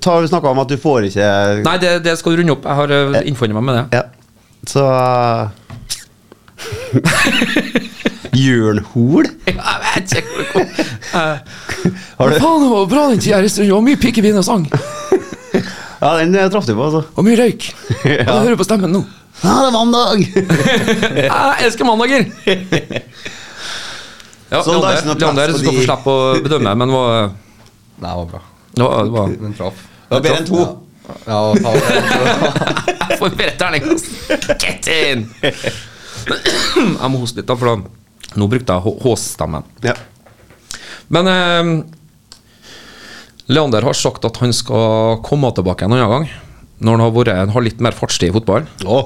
Speaker 5: ta- Vi snakka om at du får ikke
Speaker 4: Nei, det, det skal du runde opp. Jeg har eh, innfunnet meg med
Speaker 5: *laughs*
Speaker 4: det.
Speaker 5: Ja. Så eh, *laughs* Jørnhol?
Speaker 4: Jeg vet ikke hvor det kom.
Speaker 5: *laughs* Har du-
Speaker 4: Eh. Faen, det var bra den tida. Det var mye pikevin og sang.
Speaker 5: Ja, den eh, traff du på, altså.
Speaker 4: Og mye
Speaker 5: *laughs*
Speaker 4: røyk. Og det
Speaker 5: Ja.
Speaker 4: hører på stemmen nå.
Speaker 5: Ja, det er *laughs* mandag!
Speaker 4: Jeg elsker
Speaker 5: *laughs*
Speaker 4: mandager! Ja,
Speaker 5: Sånn, det er ikke noe
Speaker 4: Leander
Speaker 5: plass på
Speaker 4: skal få
Speaker 5: de-
Speaker 4: slippe å bedømme, men var,
Speaker 6: Nei, det var bra.
Speaker 4: det var, det
Speaker 5: *laughs*
Speaker 4: var
Speaker 6: Den traff.
Speaker 5: Det var bedre enn to.
Speaker 6: Ja, og ta-
Speaker 4: Jeg får bare terningkast. Get in!
Speaker 5: *laughs*
Speaker 4: Jeg må hoste litt, da, for da Nå brukte jeg H-stemmen.
Speaker 5: Ja.
Speaker 4: Men eh, Leander har sagt at han skal komme tilbake en annen gang. Når han har, vært, han har litt mer fartstid i fotballen.
Speaker 5: Å.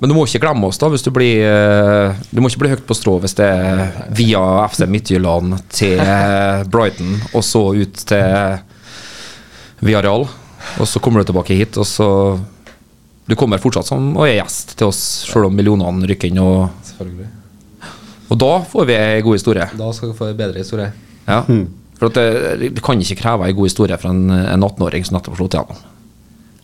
Speaker 4: Men du må ikke glemme oss, da. Hvis du, blir, eh, du må ikke bli høyt på strå hvis det er via FC Midtjylland til eh, Brighton, og så ut til Villarreal. Og så kommer du tilbake hit, og så Du kommer fortsatt som og er gjest til oss, selv om millionene rykker inn. Og,
Speaker 6: Selvfølgelig.
Speaker 4: og da får vi ei god historie.
Speaker 6: Da skal du få en bedre historie.
Speaker 4: Ja. For at det, det kan ikke kreve ei god historie fra en, en 18-åring som nettopp har slått igjennom.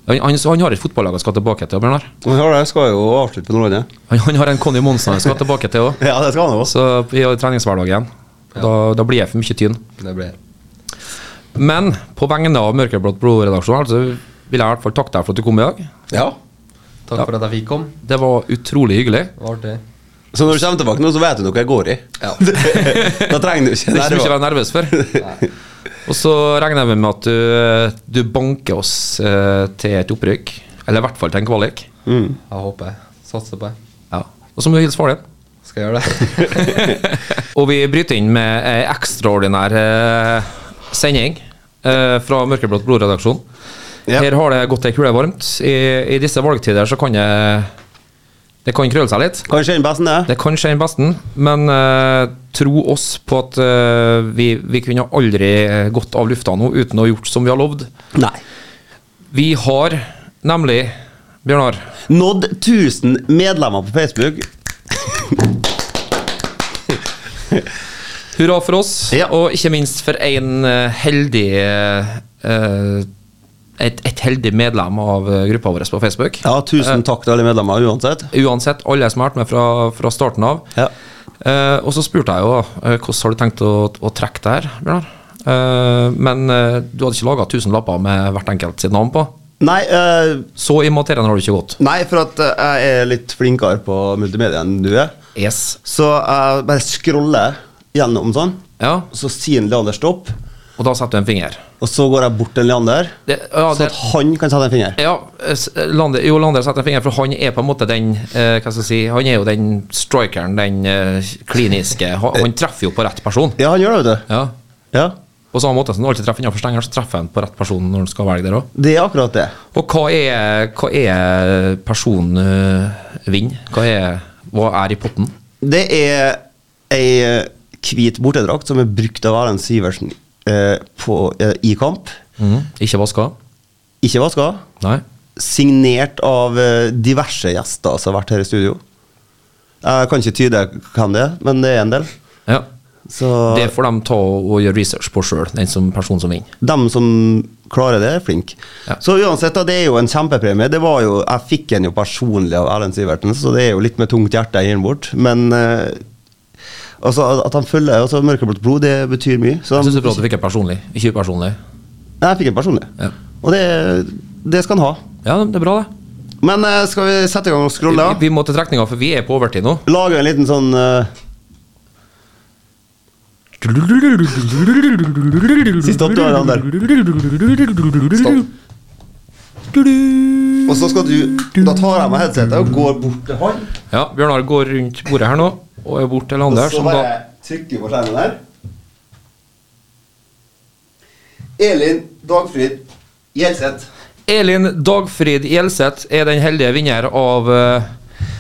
Speaker 4: Han, han, han har et fotballag han skal tilbake til, Bjørnar.
Speaker 5: Men hør, det skal jo avslutte på Nordlandet.
Speaker 4: Han, han har en Conny Monsen han skal tilbake til òg.
Speaker 5: Ja, det skal han jo også.
Speaker 4: Så i treningshverdagen. Da, da blir jeg for mye tynn.
Speaker 6: Det ble
Speaker 4: Men på vegne av Mørkeblått blod-redaksjonen så vil jeg i hvert fall takke deg for at du kom i dag.
Speaker 6: Ja. Takk for at jeg fikk komme.
Speaker 4: Det var utrolig hyggelig.
Speaker 6: Det var artig.
Speaker 5: Så når du kommer tilbake nå, så vet du noe jeg går i.
Speaker 6: Ja.
Speaker 5: *laughs* Da trenger du ikke
Speaker 4: Det er ikke mye å
Speaker 5: nerver.
Speaker 4: være nervøs *laughs* for. Og så regner jeg med at du, eh, du banker oss eh, til et opprykk. Eller i hvert fall til en kvalik.
Speaker 6: Jeg håper jeg satser på det.
Speaker 4: Ja. Og så må du hilse faren din.
Speaker 6: Skal jeg gjøre det?
Speaker 4: Og vi bryter inn med ei ekstraordinær eh, sending eh, fra Mørkeblått blodredaksjon.
Speaker 5: Ja.
Speaker 4: Her har det gått ei kule varmt. I, I disse valgtider så kan det Det kan krølle seg litt.
Speaker 5: Kan kjenne best enn det.
Speaker 4: Det kan skje den besten, men eh, tro oss på at eh, vi, vi kunne aldri gått av lufta nå uten å ha gjort som vi har lovd.
Speaker 5: Nei.
Speaker 4: Vi har nemlig, Bjørnar
Speaker 5: Nådd 1000 medlemmer på Facebook.
Speaker 4: Hurra for oss,
Speaker 5: Ja.
Speaker 4: og ikke minst for en eh, heldig eh, et, et heldig medlem av eh, gruppa vår på Facebook.
Speaker 5: Ja, tusen takk til alle medlemmer uansett.
Speaker 4: Uansett, alle som har vært med fra, fra starten av.
Speaker 5: Ja.
Speaker 4: Eh, og så spurte jeg jo da, eh, hvordan har du tenkt å, å trekke det her, Bjørnar? Eh, men eh, du hadde ikke laga 1000 lapper med hvert enkelt sitt navn på.
Speaker 5: Nei, eh,
Speaker 4: Så i materien har du ikke gått.
Speaker 5: nei, for at eh, jeg er litt flinkere på multimedia enn du er.
Speaker 4: Yes.
Speaker 5: Så jeg bare scroller gjennom sånn,
Speaker 4: Ja,
Speaker 5: så sier en Leander stopp,
Speaker 4: og da setter du en finger.
Speaker 5: og så går jeg bort til Leander,
Speaker 4: Det, ja,
Speaker 5: så
Speaker 4: det,
Speaker 5: at han kan sette en finger.
Speaker 4: ja, eh, s- Lander, jo, Lander setter en finger, for han er på en måte den eh, Hva skal jeg si Han er jo den strikeren, den eh, kliniske. Han, han treffer jo på rett person.
Speaker 5: Ja, han gjør det, vet du.
Speaker 4: Ja.
Speaker 5: Ja.
Speaker 4: På samme måte som du alltid treffer innenfor stenger, så treffer en på rett person når en skal velge der òg.
Speaker 5: Det er akkurat det.
Speaker 4: Og hva er, hva er personen øh, vinner? Hva er, hva er i potten?
Speaker 5: Det er ei eh, hvit bortedrakt som er brukt av Erlend Syversen eh, på, eh, i kamp.
Speaker 4: Ikke vaska?
Speaker 5: Ikke vaska.
Speaker 4: Mhm. Nei.
Speaker 5: Signert av eh, diverse gjester som har vært her i studio. Jeg kan ikke tyde hvem det er, men det er en del.
Speaker 4: Ja.
Speaker 5: Så
Speaker 4: Det får de ta og og gjøre research på sjøl, den som personen som vinner.
Speaker 5: dem som klarer det, er flinke.
Speaker 4: Ja.
Speaker 5: Så uansett, da, det er jo en kjempepremie. Det var jo, jeg fikk den jo personlig av Erlend Sivertsen, så det er jo litt med tungt hjerte jeg gir den bort. Men eh, altså, at han følger altså, mørkeblått blod, det betyr mye. Så
Speaker 4: Jeg
Speaker 5: de-
Speaker 4: syns det er bra at du fikk det personlig, ikke upersonlig.
Speaker 5: Nei, jeg fikk den personlig.
Speaker 4: Ja.
Speaker 5: Og det, det skal han ha.
Speaker 4: Ja, det er bra, det.
Speaker 5: Men eh, skal vi sette i gang og
Speaker 4: Vi,
Speaker 5: scrolle?
Speaker 4: vi må til trekninga, for vi er på overtid nå.
Speaker 5: da? Lage en liten sånn eh, Siste opp du har, Ander.
Speaker 7: Stopp.
Speaker 5: Og så skal du Da tar jeg meg headsetet og går bort til han.
Speaker 4: Ja, Bjørnar går rundt bordet her nå, og er bort til Anders, som da
Speaker 5: trykker på skjermen der. Elin Dagfrid Gjelseth.
Speaker 4: Elin Dagfrid Gjelseth er den heldige vinner av, eh,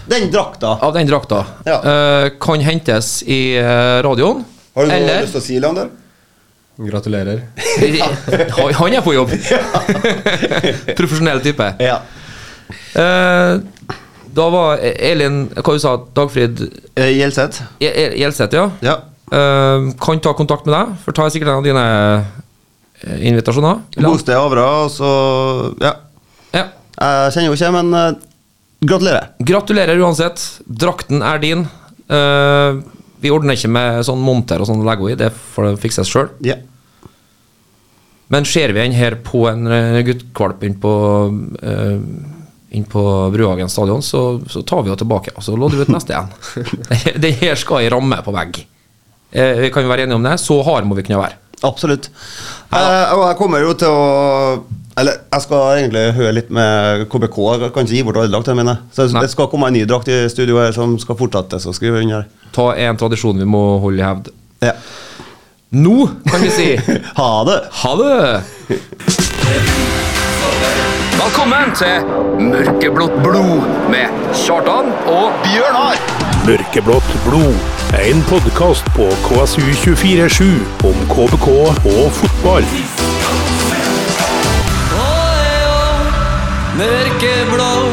Speaker 5: Den drakta.
Speaker 4: av den drakta.
Speaker 5: Ja.
Speaker 4: Eh, kan hentes i eh, radioen.
Speaker 5: Har du noe
Speaker 4: eller
Speaker 5: lyst til å si, Leander?
Speaker 6: Gratulerer.
Speaker 4: *laughs* Han han er på jobb! *laughs* Profesjonell type.
Speaker 5: Ja.
Speaker 4: Eh, da var Elin Hva du sa Dagfrid
Speaker 5: Eh, Gjelseth.
Speaker 4: Gje- Gje- Gjelseth, ja?
Speaker 5: Ja.
Speaker 4: Eh, kan ta kontakt med deg, for tar jeg sikkert en av dine eh, invitasjoner.
Speaker 5: Bosted i Avra, og så Ja.
Speaker 4: Ja.
Speaker 5: Jeg kjenner jo ikke, men eh, gratulerer.
Speaker 4: Gratulerer uansett. Drakten er din. Eh, vi ordner ikke med sånn monter og sånn å legge henne i, det får det fikses sjøl.
Speaker 5: Ja.
Speaker 4: Men ser vi en her på en eh, guttkvalp inn på uh, inn på Bruhagen stadion, så, så tar vi henne tilbake, og så lodder vi ut neste igjen. *laughs* Den her skal i ramme på vegg. Eh, vi kan jo være enige om det. Så hard må vi kunne være.
Speaker 5: Absolutt. Eh, og jeg kommer jo til å Eller jeg skal egentlig høre litt med KBK. Jeg kan ikke gi bort alle draktene mine. Så
Speaker 4: Nei.
Speaker 5: det skal komme en ny drakt i studio her som skal fortsettes å skrive under.
Speaker 4: Ta en tradisjon vi må holde i hevd.
Speaker 5: Ja.
Speaker 4: Nå kan vi si
Speaker 5: Ha det!
Speaker 4: ha det!
Speaker 1: Velkommen til Mørkeblått blod med Kjartan og Bjørnar.
Speaker 3: Mørkeblått blod. En podkast på KSU247 om KBK og fotball.
Speaker 8: Mørkeblå